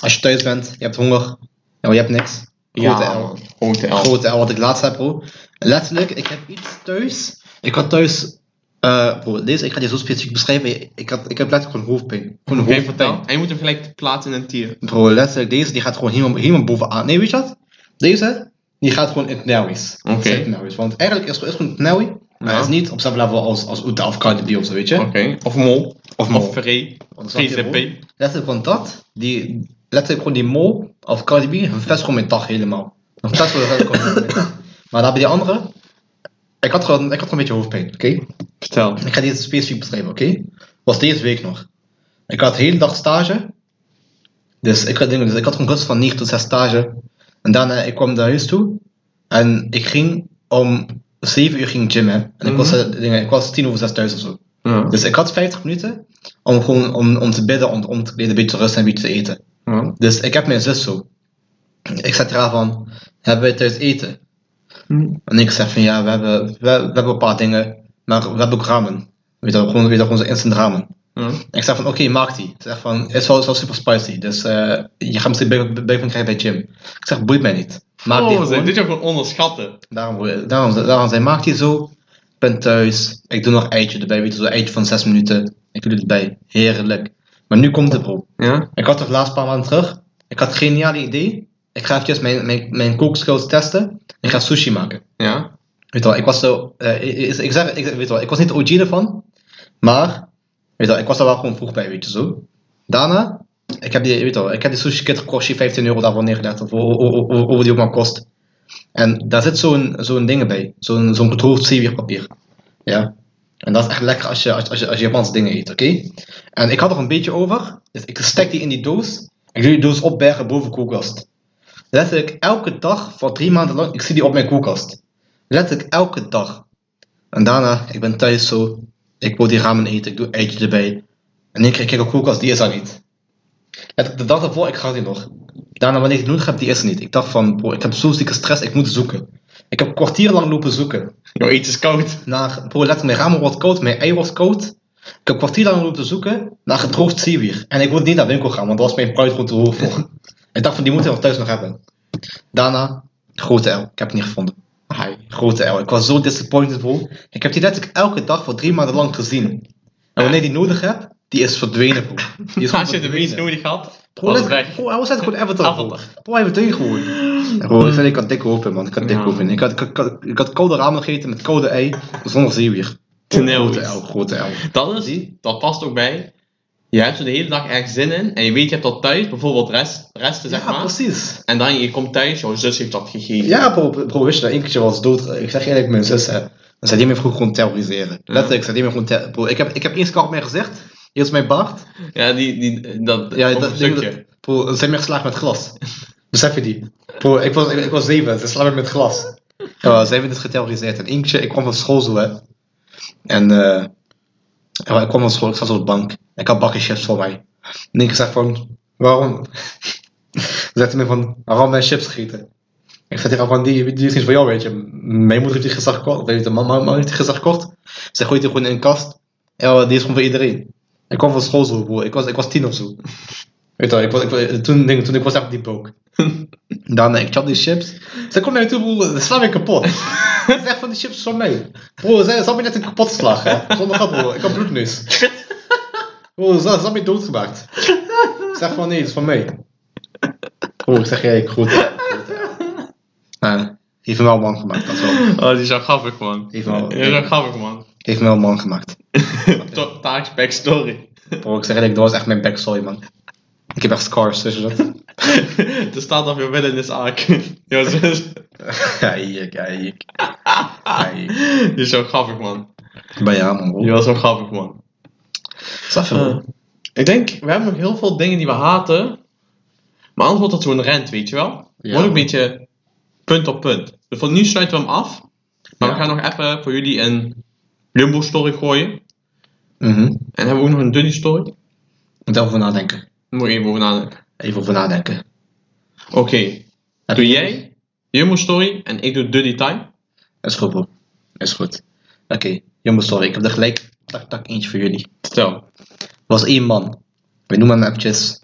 [SPEAKER 2] als je thuis bent, je hebt honger, ja, maar je hebt niks. Grote L.
[SPEAKER 1] Grote L.
[SPEAKER 2] Grote L, wat ik laatst heb, bro. Letterlijk, ik heb iets thuis. Ik had thuis... eh, bro, deze, ik ga die zo specifiek beschrijven. Ik, had, ik heb letterlijk gewoon hoofdpijn. Gewoon
[SPEAKER 1] Oké,
[SPEAKER 2] hoofdpijn.
[SPEAKER 1] vertel. nou? En je moet hem gelijk plaatsen in een tier.
[SPEAKER 2] Bro, letterlijk, deze die gaat gewoon helemaal, helemaal bovenaan. Nee, weet je wat? Deze, die gaat gewoon in het nauwies.
[SPEAKER 1] Oké.
[SPEAKER 2] In het nauwies, Want eigenlijk is, is gewoon het nauwie, maar
[SPEAKER 1] Ja.
[SPEAKER 2] hij is niet op hetzelfde level als, als Oeta of Cardi B of zo, weet je?
[SPEAKER 1] Oké. Of Mol.
[SPEAKER 2] Of Mol.
[SPEAKER 1] Of Ferré.
[SPEAKER 2] Want dat is wel heel
[SPEAKER 1] VZP.
[SPEAKER 2] hoog. Letterlijk, want dat, die, letterlijk gewoon die mol of Cardi B, hun vest gewoon mijn dag helemaal. Dan vest gewoon letterlijk gewoon mijn dag. Maar daar bij die andere, ik had gewoon, ik had gewoon een beetje hoofdpijn, oké?
[SPEAKER 1] Vertel.
[SPEAKER 2] Ik ga deze specifiek beschrijven, oké? Was deze week nog. Ik had de hele dag stage. Dus ik had, dingen, dus ik had gewoon rust van 9 tot 6 stage. En daarna ik kwam naar huis toe. En ik ging om 7 uur ging ik gym, hè. En ik, was, eh, dingen, ik was 10 over 6 thuis of zo.
[SPEAKER 1] Ja.
[SPEAKER 2] Dus ik had 50 minuten om, gewoon, om, om te bidden, om, om te kleden, een beetje te rusten en een beetje te eten.
[SPEAKER 1] Ja.
[SPEAKER 2] Dus ik heb mijn zus zo. Ik zet haar van, hebben wij thuis eten? En ik zeg van ja, we hebben, we, we hebben een paar dingen, maar we hebben ook ramen. Weet je, wel, gewoon, weet je, wel, gewoon zo'n instant ramen.
[SPEAKER 1] Ja.
[SPEAKER 2] En ik zeg van oké, maak die. Ze zegt van, het is wel, is wel super spicy, dus eh, je gaat misschien buik- buikpijn krijgen bij Jim. Ik zeg, boeit mij niet. Maak die
[SPEAKER 1] Oh, ze-
[SPEAKER 2] gewoon.
[SPEAKER 1] dit is gewoon onderschatten.
[SPEAKER 2] Daarom, eh, daarom, daarom zei maakt hij zo. Ik ben thuis. Ik doe nog eitje erbij. Weet je, zo'n eitje van 6 minuten. Ik doe het erbij. Heerlijk. Maar nu komt het, bro.
[SPEAKER 1] Ja?
[SPEAKER 2] Ik had het laatst paar maanden terug. Ik had het geniale idee. Ik ga eventjes mijn, mijn, mijn kookskills testen. Ik ga sushi maken.
[SPEAKER 1] Ja?
[SPEAKER 2] Weet je wel, ik was zo... eh, ik, ik zeg, ik, weet je wel, ik was niet de OG ervan. Maar, weet je wel, ik was daar wel gewoon vroeg bij, weet je zo. Daarna, ik heb die, weet je wel, ik heb die sushi kit gekost, 15 euro daarvoor neergelegd. Of hoe- hoe- hoe- hoe- hoe die ook maar kost. En daar zit zo'n zo'n ding bij. Zo'n zo'n gedroogd zeewierpapier. Ja. En dat is echt lekker als je, als, als je, als je Japanse dingen eet, oké? En ik had er een beetje over. Dus ik stek die in die doos. Ik doe die doos opbergen boven koelkast. Letterlijk elke dag, voor drie maanden lang, ik zie die op mijn koelkast. Letterlijk elke dag. En daarna, ik ben thuis zo. Ik wil die ramen eten, ik doe eitje erbij. En ik kijk op koelkast, die is er niet. Letterlijk, De dag daarvoor, ik ga die nog. Daarna, wanneer ik het nodig heb, die is er niet. Ik dacht van, bro, ik heb zo zieke stress, ik moet zoeken. Ik heb kwartier lang lopen zoeken.
[SPEAKER 1] Yo, iets is koud.
[SPEAKER 2] Naar, bro, let mijn ramen wordt koud, mijn ei wordt koud. Ik heb kwartier lang lopen zoeken naar gedroogd zeewier. En ik wilde niet naar de winkel gaan, want daar was mijn bruid gewoon te hoog voor. ik dacht van, die moeten we thuis nog hebben. Daarna, grote L. Ik heb het niet gevonden.
[SPEAKER 1] Hai.
[SPEAKER 2] Grote L. eh, Ik was zo disappointed, bro. Ik heb die letterlijk elke dag voor drie maanden lang gezien. En wanneer die nodig heb, die is verdwenen, bro. Die is
[SPEAKER 1] Als je de
[SPEAKER 2] verdwenen.
[SPEAKER 1] winst nodig had,
[SPEAKER 2] Bro,
[SPEAKER 1] was het
[SPEAKER 2] letterlijk-
[SPEAKER 1] weg.
[SPEAKER 2] bro, hij was net gewoon Everton. bro.
[SPEAKER 1] Avatar.
[SPEAKER 2] Bro, hij heeft ding gewoon. Bro, ik, vind, ik had dikke hoofdpijn, man. Ik had dikke
[SPEAKER 1] Ja.
[SPEAKER 2] hoofdpijn. Ik had, ik, had- ik had, ik had koude ramen gegeten met koude ei, zonder zeewier.
[SPEAKER 1] Tenel.
[SPEAKER 2] Grote L, grote L.
[SPEAKER 1] Dat is, dat past ook bij. Je hebt zo de hele dag ergens zin in en je weet je hebt dat thuis, bijvoorbeeld rest, resten zeg
[SPEAKER 2] ja,
[SPEAKER 1] maar.
[SPEAKER 2] precies.
[SPEAKER 1] En dan je komt thuis, jouw zus heeft dat gegeven.
[SPEAKER 2] Ja, bro, bro, wist je dat één keertje was dood? Ik zeg eerlijk, mijn zus, hè. Dan zei die mij vroeg gewoon terroriseren. Letterlijk, zei die mij gewoon ter- Bro, ik heb, ik heb één scar op mijn gezicht. Hier is mijn baard.
[SPEAKER 1] Ja, die, die, dat,
[SPEAKER 2] Ja,
[SPEAKER 1] ook
[SPEAKER 2] dat
[SPEAKER 1] een
[SPEAKER 2] ding
[SPEAKER 1] stukje.
[SPEAKER 2] dat- Bro, ze zijn mij geslagen met glas. Besef je die? Bro, ik was, ik, ik was zeven, ze slaan mij met glas. Ja, ze hebben dit geterroriseerd. En eentje, ik kwam van school zo, hè. En, eh, ja, ik kwam van school, ik zat zo op de bank. Ik had bakken chips voor mij. En ik zei van, waarom? Ze zette me van, waarom mijn chips gegeten? Ik zei tegen haar van, die, die is niet voor jou, weet je. Mijn moeder heeft die gezag kort, of weet je, mijn mama heeft die gezag kort. Ze gooit die gewoon in een kast. Ja, die is gewoon voor iedereen. Ik kwam van school zo, bro. Ik was, ik was tien of zo. Weet je wel, ik was, ik, was- toen, denk, ik- toen ik was echt die ook. Dan, ik had die chips. Ze komt naar je toe, broer, ze slaan mij kapot. Ze zegt van die chips van mij. Bro, ze ze had me net een kapot geslagen, hè. Zonder grap, bro. Ik had bloedneus. Bro, ze, ze had me doodgemaakt. Ze zegt van, nee, dat is van mij. Bro, ik zeg, jij, ik goed. Nou, die heeft me wel man gemaakt, dat is wel.
[SPEAKER 1] Oh, die is wel grappig, man.
[SPEAKER 2] Die is wel-
[SPEAKER 1] Die is wel grappig, man.
[SPEAKER 2] Die heeft me wel man gemaakt.
[SPEAKER 1] To- Taaks backstory.
[SPEAKER 2] Bro, ik zeg eerlijk, dat was echt mijn backstory, man. Ik heb echt scars, weet je dat?
[SPEAKER 1] er staat op je wil in de zaak. Jouw zus.
[SPEAKER 2] Kijk, kijk. Kijk.
[SPEAKER 1] Die is wel grappig, man.
[SPEAKER 2] Maar ja, man, bro.
[SPEAKER 1] Die was wel grappig, man.
[SPEAKER 2] Snap je, bro?
[SPEAKER 1] Eh, ik denk, we hebben nog heel veel dingen die we haten. Maar anders wordt dat zo'n rent, weet je wel?
[SPEAKER 2] Ja,
[SPEAKER 1] Wordt ook een
[SPEAKER 2] man.
[SPEAKER 1] beetje punt op punt. Dus voor nu sluiten we hem af. Maar we
[SPEAKER 2] Ja.
[SPEAKER 1] gaan nog even voor jullie een Jumbo-story gooien. En
[SPEAKER 2] Mhm.
[SPEAKER 1] dan hebben we ook nog een Dunny-story.
[SPEAKER 2] Moet even over nadenken.
[SPEAKER 1] Daar moet ik even over nadenken.
[SPEAKER 2] Even over nadenken.
[SPEAKER 1] Oké, doe jij Jumbo-story en ik doe Dunny Time.
[SPEAKER 2] Is goed, bro. Is goed. Oké, jongens, sorry. Ik heb er gelijk tak tak eentje voor jullie.
[SPEAKER 1] Stel,
[SPEAKER 2] Er was één man. We noemen hem eventjes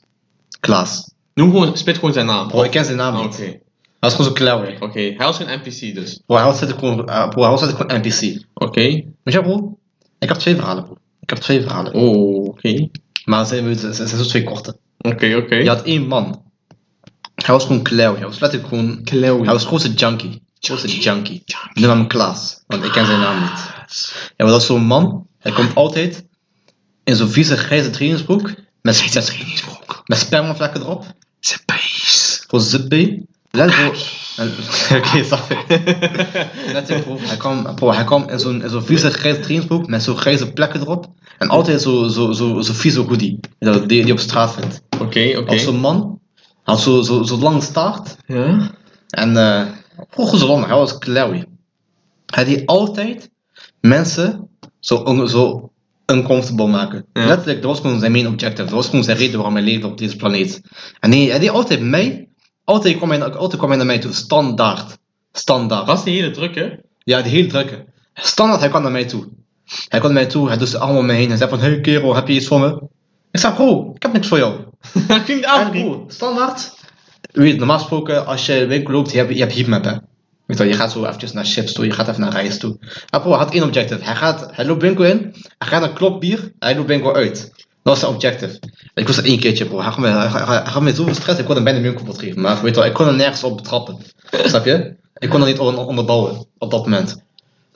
[SPEAKER 2] Klaas.
[SPEAKER 1] noem gewoon, spit gewoon zijn naam.
[SPEAKER 2] Bro, ik ken zijn naam
[SPEAKER 1] Oké,
[SPEAKER 2] niet. Hij was gewoon zo clever.
[SPEAKER 1] oké. Hij was geen NPC dus.
[SPEAKER 2] Bro, hij was altijd gewoon, eh, bro, hij was altijd gewoon NPC.
[SPEAKER 1] Oké.
[SPEAKER 2] Weet je, bro? Ik heb twee verhalen, bro. Ik heb twee verhalen.
[SPEAKER 1] Oh, oké.
[SPEAKER 2] Maar ze ze- ze- ze zijn zo twee korte.
[SPEAKER 1] Oké, oké.
[SPEAKER 2] Je had één man. Hij was gewoon clown. Hij was letterlijk gewoon...
[SPEAKER 1] Klauwen.
[SPEAKER 2] Hij was grote junkie. Grote junkie. Ik noem hem Klaas, want ik ken zijn naam niet. Ja, maar dat is zo'n man. Hij komt altijd in zo'n vieze grijze trainingsbroek. Met, met, met spermavlekken erop.
[SPEAKER 1] Space.
[SPEAKER 2] Gewoon zippy. Let bro. en- Oké, sorry. Letterlijk, bro. Hij kwam, bro, hij kwam in zo'n in zo'n vieze grijze trainingsbroek. Met zo'n grijze plekken erop. En altijd zo'n zo, zo, zo vieze hoodie. Die, die je op straat vindt.
[SPEAKER 1] Oké, oké.
[SPEAKER 2] Als zo'n man. Hij had zo'n zo, zo lange staart.
[SPEAKER 1] Ja?
[SPEAKER 2] En eh vroeger zo lang, hij was Clary. Hij deed altijd mensen zo, on, zo uncomfortable maken.
[SPEAKER 1] Ja.
[SPEAKER 2] Letterlijk, dat was gewoon zijn main objective. Dat was gewoon zijn reden waarom hij leefde op deze planeet. En hij, hij deed altijd mij, altijd kwam, hij, altijd kwam hij naar mij toe, standaard. Standaard.
[SPEAKER 1] Was die hele druk, hè?
[SPEAKER 2] Ja, die heel drukke. Standaard, hij kwam naar mij toe. Hij kwam naar mij toe, hij doet zijn arm om me heen en zei van, hey kerel, heb je iets voor me? Ik zei, bro, ik heb niks voor jou.
[SPEAKER 1] Dat klinkt
[SPEAKER 2] En broer, standaard. Weet je, normaal gesproken, als je in de winkel loopt, je hebt, je hebt heatmap, hè. Weet je, wel, je gaat zo eventjes naar chips toe, je gaat even naar rijst toe. Maar bro, hij had één objective. Hij, gaat, hij loopt winkel in, hij gaat naar klopbier, hij loopt winkel uit. Dat was zijn objective. Ik was er één keertje, bro. Hij gaf me, hij, hij- hij gaf me zoveel stress, ik kon hem bijna de winkel geven. Maar weet je wel, ik kon er nergens op betrappen. Snap je? Ik kon er niet on- onderbouwen op dat moment.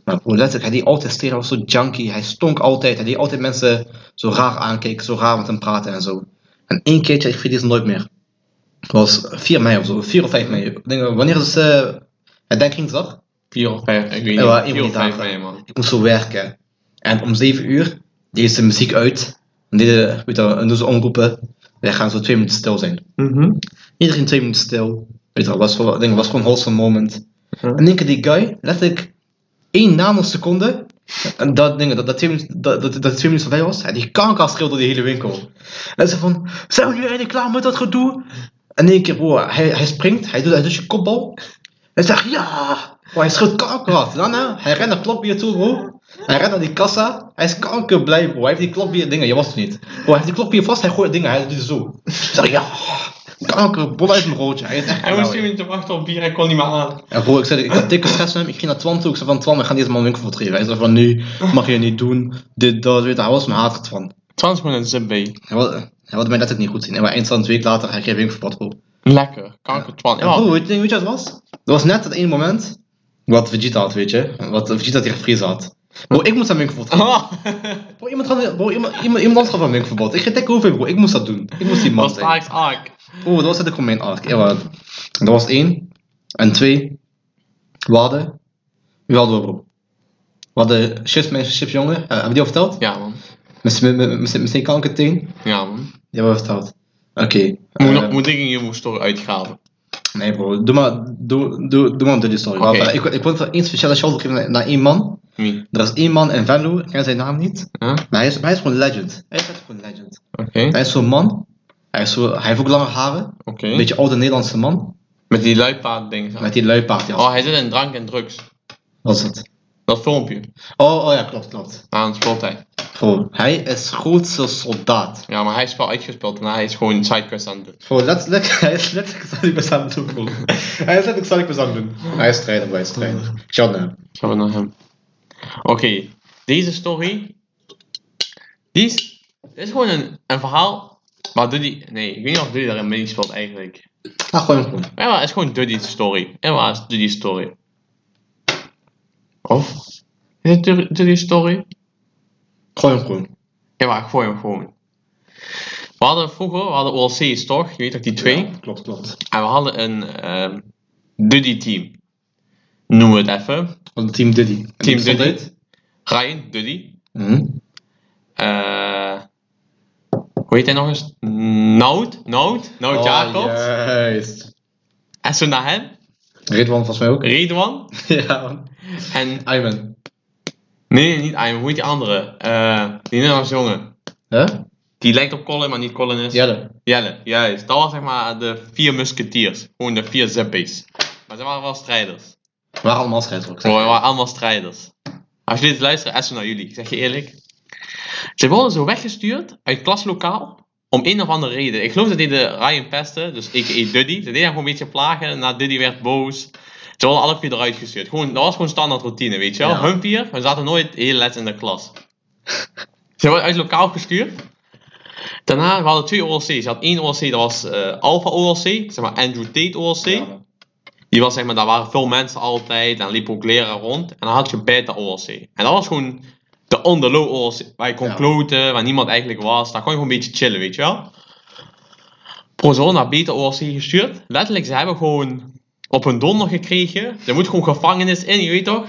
[SPEAKER 2] Maar bro, letterlijk, hij deed altijd steren, hij was zo junkie, hij stonk altijd. Hij deed altijd mensen zo raar aankijken, zo raar met hem praten en zo. En één keertje, ik vergeet het nooit meer. Het was 4 mei of zo, 4 of 5 mei. Ik denk, eh, wanneer is eh herdenkingsdag?
[SPEAKER 1] 4 of 5, ik weet
[SPEAKER 2] Ja, maar
[SPEAKER 1] niet.
[SPEAKER 2] één
[SPEAKER 1] 4 of
[SPEAKER 2] van die
[SPEAKER 1] 5
[SPEAKER 2] dagen.
[SPEAKER 1] mee, man.
[SPEAKER 2] Ik moest zo werken. En om 7 uur deed ze muziek uit. En deden, weet je, wel, en doen ze omroepen. Wij gaan zo 2 minuten stil zijn. Iedereen 2 minuten stil. Weet je, wel, was, wel- ik denk, was gewoon een wholesome moment.
[SPEAKER 1] Ja.
[SPEAKER 2] En denk ik, die guy, letterlijk 1 nanoseconde. En dat ding, dat, dat, twee minuten, dat, dat, dat twee minuten voorbij was, en die kanker schreeuwde door die hele winkel. En ze van, zijn we nu eindelijk klaar met dat gedoe? En in één keer, bro, hij, hij springt, hij doet, hij doet je kopbal. En zegt, ja! Oh, hij schreeuwt kankerhard. Dan hè, hij rent naar klopbier toe, bro. Hij rent naar die kassa. Hij is kankerblij, bro. Hij heeft die klopbier dingen, je was het niet. Bro, hij heeft die klopbier vast, hij gooit dingen, hij doet zo. Ik zeg, ja, kanker, bol uit mijn broodje. Hij is echt
[SPEAKER 1] Hij moest
[SPEAKER 2] blauw,
[SPEAKER 1] twee minuten wachten op bier, hij kon niet meer aan.
[SPEAKER 2] ja, bro, ik zei, ik had dikke stress met hem. Ik ging naar Twan toe. Ik zei van, Twan, we gaan deze man winkel voortgeven. Hij zei van, nee, mag je niet doen. Dit, dat, weet je. Hij was mijn hater, Twan.
[SPEAKER 1] Trans gewoon een zip bij.
[SPEAKER 2] Hij wilde, hij wilde mij letterlijk niet goed zien. En maar eindstand een week later, hij kreeg winkelverbod, bro.
[SPEAKER 1] Lekker, kanker Twan.
[SPEAKER 2] En bro, weet je, weet je wat het was? Dat was net dat ene moment wat Vegeta had, weet je. Wat Vegeta tegen Freeze had. Bro, ik moest aan winkelverbod gaan.
[SPEAKER 1] Oh,
[SPEAKER 2] Bro, iemand, gaat, bro, iemand, iemand, iemand anders gaf aan winkelverbod. Ik ging dikke hoeveel, bro. Ik moest dat doen. Ik moest die man
[SPEAKER 1] was ah,
[SPEAKER 2] zijn.
[SPEAKER 1] Stark's Ark.
[SPEAKER 2] Oeh, dat was net ook gewoon mijn arc. Ja, dat was één. En twee, we hadden, we hadden we bro. We hadden chips, mensen, chips jongen. Eh, hebben die al verteld?
[SPEAKER 1] Ja, man.
[SPEAKER 2] Met- met- met- met- Met zijn kankerteen. Die
[SPEAKER 1] Ja, man.
[SPEAKER 2] hebben we verteld. Oké.
[SPEAKER 1] Moet,
[SPEAKER 2] eh,
[SPEAKER 1] nog- moet ik in je story uitgraven?
[SPEAKER 2] nee bro, doe maar, doe, doe, doe maar een story.
[SPEAKER 1] Oké.
[SPEAKER 2] Maar eh, Ik, ik wil even één speciale shout-out geven naar, naar één man.
[SPEAKER 1] Wie?
[SPEAKER 2] Er is één man in Venlo, ik ken zijn naam niet.
[SPEAKER 1] Huh? Oké.
[SPEAKER 2] Maar hij is, hij is gewoon legend. Hij is echt gewoon legend. Hij is zo'n man. Hij, is zo, hij heeft ook lange haren.
[SPEAKER 1] Oké.
[SPEAKER 2] Een beetje oude Nederlandse man.
[SPEAKER 1] Met die luipaard ding.
[SPEAKER 2] Met die luipaard.
[SPEAKER 1] Oh, hij zit in drank en drugs.
[SPEAKER 2] Dat is het.
[SPEAKER 1] Dat filmpje.
[SPEAKER 2] Oh, oh ja, klopt, klopt.
[SPEAKER 1] Aan speelt hij.
[SPEAKER 2] Bro, hij is grootste soldaat.
[SPEAKER 1] Ja, maar hij is wel uitgespeeld en hij is gewoon sidequest aan het doen.
[SPEAKER 2] Bro, letterlijk, hij is letterlijk Salibus aan het doen, bro. Hij is letterlijk Salibus aan het doen. Hij is trainer, bro, hij is trainer. Shout naar hem.
[SPEAKER 1] Gaan we naar hem. Oké, deze story. Die is, dit is gewoon een, een verhaal. Maar Duddy. Nee, ik weet niet of Duddy daarin meespeelt eigenlijk.
[SPEAKER 2] Ah, gewoon gewoon.
[SPEAKER 1] Ja, maar het is gewoon Duddy's story. En waar is Duddy's story? Of? Is het Dud- Duddy's story?
[SPEAKER 2] Gewoon gewoon.
[SPEAKER 1] Ja, maar ik gooi hem gewoon. We hadden vroeger, we hadden OLC's toch? Je weet toch, die twee?
[SPEAKER 2] Ja, klopt, klopt.
[SPEAKER 1] En we hadden een ehm Duddy team. Noemen we het even.
[SPEAKER 2] Van Team Diddy. En die bestond
[SPEAKER 1] Diddy.
[SPEAKER 2] uit-
[SPEAKER 1] Ryan, Duddy.
[SPEAKER 2] Mhm.
[SPEAKER 1] eh hoe heet hij nog eens? Nout? Nout? Nout
[SPEAKER 2] Oh,
[SPEAKER 1] Jacobs.
[SPEAKER 2] Juist.
[SPEAKER 1] En zo naar hem.
[SPEAKER 2] Ridwan volgens mij ook.
[SPEAKER 1] Redwan.
[SPEAKER 2] ja, man.
[SPEAKER 1] En...
[SPEAKER 2] Ayman.
[SPEAKER 1] Nee, nee, niet Iman. Hoe heet die andere? Eh die Nederlandse jongen.
[SPEAKER 2] Huh?
[SPEAKER 1] Die lijkt op Colin, maar niet Colin is.
[SPEAKER 2] Jelle.
[SPEAKER 1] Jelle, juist. Dat was zeg maar de vier musketeers. Gewoon de vier zippies. Maar ze waren wel strijders.
[SPEAKER 2] We waren allemaal scheidsrechter.
[SPEAKER 1] Bro, we waren allemaal strijders. Als jullie dit luisteren, essen naar jullie. Ik zeg je eerlijk. Ze worden zo weggestuurd uit klaslokaal. Om een of andere reden. Ik geloof dat die de Ryan pestte. Dus ik Duddy. Ze deden hem gewoon een beetje plagen. Na Duddy werd boos. Ze worden alle vier eruit gestuurd. Gewoon, dat was gewoon standaard routine, weet je wel.
[SPEAKER 2] Ja.
[SPEAKER 1] Hun vier, we zaten nooit heel les in de klas. Ze worden uit lokaal gestuurd. Daarna, we hadden twee OLC's. Je had één OLC, dat was eh Alpha OLC. Zeg maar Andrew Tate OLC.
[SPEAKER 2] Ja.
[SPEAKER 1] Die was zeg maar, daar waren veel mensen altijd en liepen ook leren rond. En dan had je beta OLC. En dat was gewoon de on the low OLC, waar je kon
[SPEAKER 2] Ja.
[SPEAKER 1] kloten, waar niemand eigenlijk was. Daar kon je gewoon een beetje chillen, weet je wel. Prozon naar beta OLC gestuurd. Letterlijk, ze hebben gewoon op hun donder gekregen. Ze moet gewoon gevangenis in, je weet toch?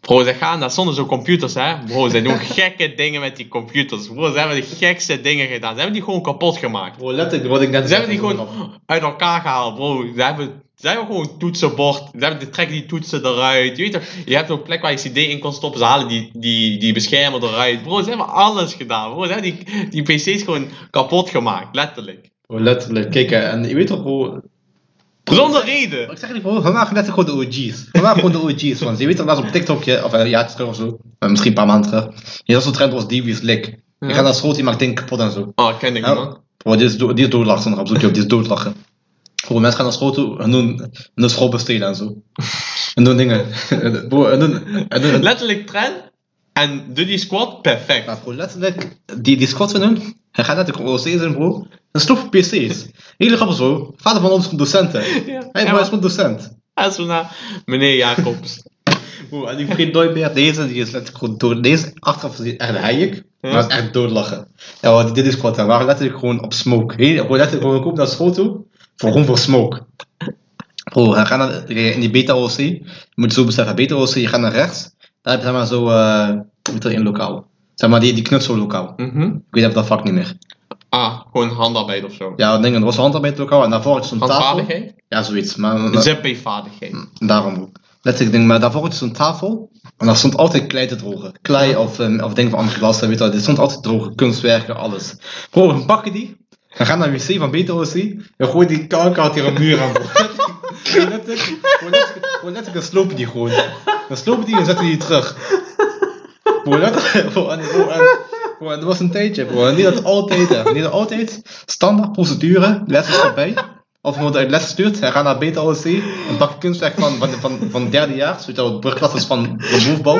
[SPEAKER 1] Bro, ze gaan daar zonder zo'n computers, hè. Bro, ze doen gekke dingen met die computers. Bro, ze hebben de gekste dingen gedaan. Ze hebben die gewoon kapot gemaakt.
[SPEAKER 2] Bro, letterlijk wat ik net
[SPEAKER 1] Ze hebben die
[SPEAKER 2] zei,
[SPEAKER 1] gewoon uit elkaar gehaald, bro. Ze hebben, ze hebben gewoon toetsenbord. Ze hebben, trekken die toetsen eruit. Je, weet toch, je hebt ook plek waar je CD in kon stoppen. Ze halen die, die, die beschermer eruit. Bro, ze hebben alles gedaan, bro. Ze hebben die, die PC's gewoon kapot gemaakt, letterlijk.
[SPEAKER 2] Bro, letterlijk. Kijk, hè, en je weet toch, bro,
[SPEAKER 1] Zonder reden.
[SPEAKER 2] Maar Ik zeg niet, bro, we maken net gewoon de OG's. We maken gewoon de OG's, want je weet toch laatst op TikTokje, of een jaartje terug of zo, eh, misschien een paar maanden terug. Je zag zo'n trend als Divi's Lick. Je
[SPEAKER 1] Ja.
[SPEAKER 2] gaat naar school, die maakt dingen kapot en zo.
[SPEAKER 1] Oh, ken ik niet,
[SPEAKER 2] Ja,
[SPEAKER 1] man.
[SPEAKER 2] bro, dit is, do- dit is doodlachen, zonder op zoek je op, dit is doodlachen. Bro, mensen gaan naar school toe en doen, en doen school besteden en zo. En doen dingen. Bro, en doen... En doen
[SPEAKER 1] Letterlijk trend. En doe die squad perfect.
[SPEAKER 2] maar bro, letterlijk, die, die squad van hun, hij gaat net de OC's in, bro. Een sloeg voor PC's. Hele grappig zo, vader van ons is een docent, hè.
[SPEAKER 1] Ja.
[SPEAKER 2] Hij
[SPEAKER 1] Ja,
[SPEAKER 2] bro, is
[SPEAKER 1] maar-
[SPEAKER 2] gewoon docent.
[SPEAKER 1] en zo naar meneer Jacobs.
[SPEAKER 2] Oeh, en ik vergeet nooit meer. Deze die is letterlijk gewoon dood. Deze achteraf is echt een heik. Maar dat is echt doodlachen. Ja, want dit is kwart. We waren letterlijk gewoon op smoke. Heel, gewoon letterlijk gewoon koop naar school toe. Voor, gewoon voor smoke. Bro, hij gaat naar, in die beta OC. Je moet zo beseffen. Beta OC, je gaat naar rechts. Daar heb je zeg maar zo, eh weet je, in lokaal. Zeg maar die, die knutsellokaal.
[SPEAKER 1] Mhm.
[SPEAKER 2] Ik weet even dat vak niet meer.
[SPEAKER 1] Ah, gewoon handarbeid of zo.
[SPEAKER 2] Ja, dingen, er was een handarbeid lokaal. En daarvoor had je zo'n tafel.
[SPEAKER 1] Handvaardigheid?
[SPEAKER 2] Ja, zoiets. Maar, maar-
[SPEAKER 1] ZP-vaardigheid.
[SPEAKER 2] Daarom ook. Letterlijk denk ik, maar daarvoor had je zo'n tafel en daar stond altijd klei te drogen. Klei of, ehm, of dingen van andere glas, weet je wel. Er stond altijd droge kunstwerken, alles. Bro, we pakken die, we gaan naar de wc van BTOC en gooien die kanker uit hier een muur aan. bro. Gewoon letterlijk, gewoon letterlijk, gewoon letterlijk, dan slopen die gewoon. Dan slopen die en zetten die terug. Gewoon letterlijk, gewoon, gewoon, gewoon, dat was een tijdje, gewoon. Niet dat altijd, hè. Niet dat altijd. Standaard procedure, les is erbij. Als iemand uit les stuurt, hij gaat naar BTLC, een bak kunstwerk van, van, van, van derde jaar, zoiets als brugklassers van de bovenbouw.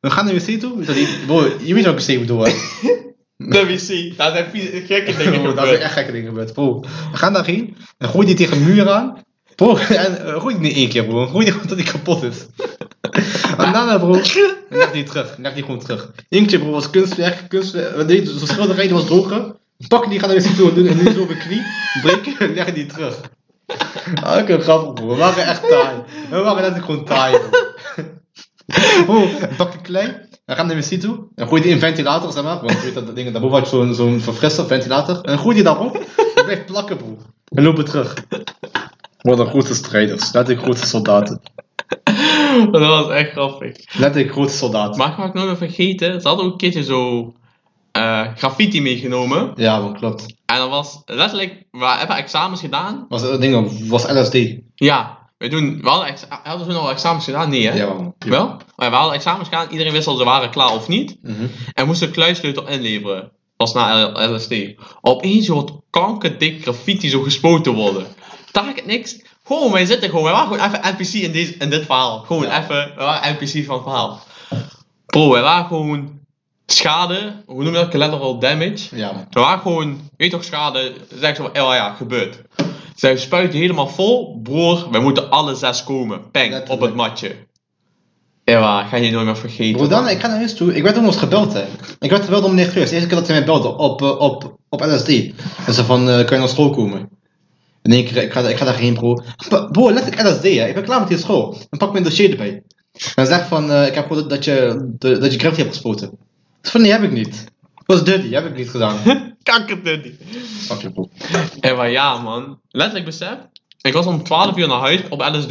[SPEAKER 2] We gaan naar de wc toe, weet je, die- bro, je weet wat ik wc bedoel, hè.
[SPEAKER 1] De wc. Daar zijn vieze- gekke dingen
[SPEAKER 2] Bro, Oh, dat zijn
[SPEAKER 1] gebeurd.
[SPEAKER 2] echt gekke dingen gebeurd. Bro, we gaan daarheen, dan gooi je die tegen de muur aan. Bro, en eh, gooi die niet één keer, bro. Gooi die gewoon tot die kapot is. En daarna, bro, dan leg die terug. dan Leg die gewoon terug. Eentje, bro, was kunstwerk. kunstwerk eh, we deden zo'n schilderij, die was droger. Pak die, gaan naar de wc toe en doen en nu zo op een knie. Breken, leg die terug. Ah, ik heb grappig, bro. We waren echt taai. We waren net gewoon taai, bro. Bro, pak die klei. Dan gaan we naar de wc toe. En gooi die in ventilator, zeg maar. Want je weet dat, dat ding, daarboven had je zo'n zo'n verfrisser, ventilator. En gooi die daarop. En blijf plakken, bro. En lopen terug. Wat een grote strijders. Laat ik grote soldaten.
[SPEAKER 1] Dat was echt grappig.
[SPEAKER 2] Laat ik grote soldaten.
[SPEAKER 1] Maar ik had ik nooit meer vergeten, ze hadden ook een keertje zo eh, graffiti meegenomen.
[SPEAKER 2] Ja, bro, klopt.
[SPEAKER 1] En dat was letterlijk, we hebben examens gedaan.
[SPEAKER 2] Was, dat ding, was LSD.
[SPEAKER 1] Ja, we, doen, we hadden, ex- hadden toen al examens gedaan? Nee hè?
[SPEAKER 2] Ja, man.
[SPEAKER 1] Wel? Maar we hadden examens gedaan, iedereen wist al ze waren klaar of niet.
[SPEAKER 2] Mhm.
[SPEAKER 1] En moesten een kluissleutel inleveren. Als na L- LSD. Opeens wordt kankerdik graffiti zo gespoten worden. Taak niks. Gewoon, wij zitten gewoon. Wij waren gewoon even NPC in, deze, in dit verhaal. Gewoon
[SPEAKER 2] Ja.
[SPEAKER 1] even, wij waren NPC van het verhaal. Bro, wij waren gewoon schade. Hoe noem je dat? Collateral damage.
[SPEAKER 2] Ja, man.
[SPEAKER 1] We waren gewoon, je weet toch, schade. Zeg zo, ja, ja, gebeurt. Zij spuiten helemaal vol. Broer, wij moeten alle zes komen. Peng, op
[SPEAKER 2] Letterlijk.
[SPEAKER 1] het matje. Ja, ga je nooit meer vergeten.
[SPEAKER 2] Bro, dan, ik ga naar huis toe. Ik werd toen nog eens gebeld, hè. Ik werd gebeld door meneer Geus. De eerste keer dat hij mij belde op, eh, op, op LSD. En ze van, eh, kan je naar school komen? En ik, ik, ga, ik ga daarheen, bro. B- Bro, letterlijk LSD, hè. Ik ben klaar met die school. Dan pak ik mijn dossier erbij. En zeg van, eh, ik heb gehoord dat je, de- dat je graffiti hebt gespoten. Ik van, nee, heb ik niet. Dat was dirty, heb ik niet gedaan.
[SPEAKER 1] Kakkerduddy.
[SPEAKER 2] Fuck je, bro.
[SPEAKER 1] En maar ja, man. Letterlijk besef. Ik was om 12 uur naar huis op LSD.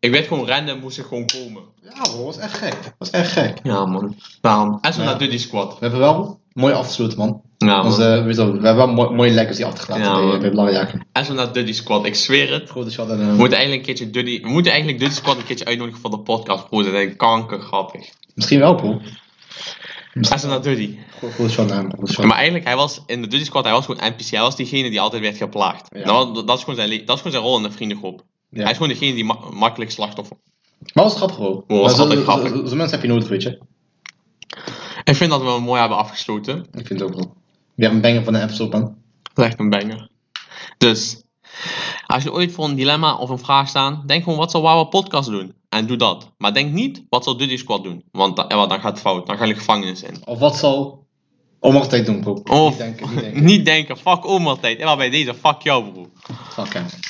[SPEAKER 1] Ik werd gewoon random, moest ik gewoon komen.
[SPEAKER 2] Ja, bro, was echt gek. was echt gek.
[SPEAKER 1] Ja, man. Daarom. En zo
[SPEAKER 2] Ja.
[SPEAKER 1] naar Duddy Squad.
[SPEAKER 2] We hebben wel mooi afgesloten, man.
[SPEAKER 1] Ja, man.
[SPEAKER 2] Onze, weet je wel, we hebben wel mooi, mooie legacy achtergelaten
[SPEAKER 1] Ja,
[SPEAKER 2] bij,
[SPEAKER 1] man.
[SPEAKER 2] bij Belangrijke.
[SPEAKER 1] En zo naar Duddy Squad. Ik zweer het.
[SPEAKER 2] Grote shot en...
[SPEAKER 1] We moeten eigenlijk een keertje Duddy... We moeten eigenlijk Duddy Squad een keertje uitnodigen voor de podcast, bro. Dat is echt kanker grappig.
[SPEAKER 2] Misschien wel, bro.
[SPEAKER 1] En zo naar Duddy.
[SPEAKER 2] Goed zo naam. Goed zo.
[SPEAKER 1] Maar eigenlijk, hij was in de Duddy Squad, hij was gewoon NPC. Hij was diegene die altijd werd geplaagd.
[SPEAKER 2] Ja.
[SPEAKER 1] Nou, dat, dat is gewoon zijn, le- dat is gewoon zijn rol in de vriendengroep.
[SPEAKER 2] Ja.
[SPEAKER 1] Hij is gewoon degene die ma- makkelijk slachtoffer...
[SPEAKER 2] Maar was grappig bro.
[SPEAKER 1] Oh, was
[SPEAKER 2] Maar zo-
[SPEAKER 1] altijd
[SPEAKER 2] zo-
[SPEAKER 1] grappig.
[SPEAKER 2] zo- Zo'n mensen heb je nodig, weet je.
[SPEAKER 1] Ik vind dat we hem mooi hebben afgesloten.
[SPEAKER 2] Ik vind het ook wel. Weer een banger van de episode, man.
[SPEAKER 1] Dat is echt een banger. Dus, als je ooit voor een dilemma of een vraag staat, denk gewoon wat zal Wawa Podcast doen? En doe dat. Maar denk niet wat zal Duddy Squad doen? Want da- eh, wat, dan gaat het fout. Dan ga je de gevangenis in.
[SPEAKER 2] Of wat zal Omar tijd doen, bro?
[SPEAKER 1] Of
[SPEAKER 2] Niet denken, niet denken.
[SPEAKER 1] niet denken, fuck oma tijd. En wat bij deze, fuck jou bro.
[SPEAKER 2] Fuck hem.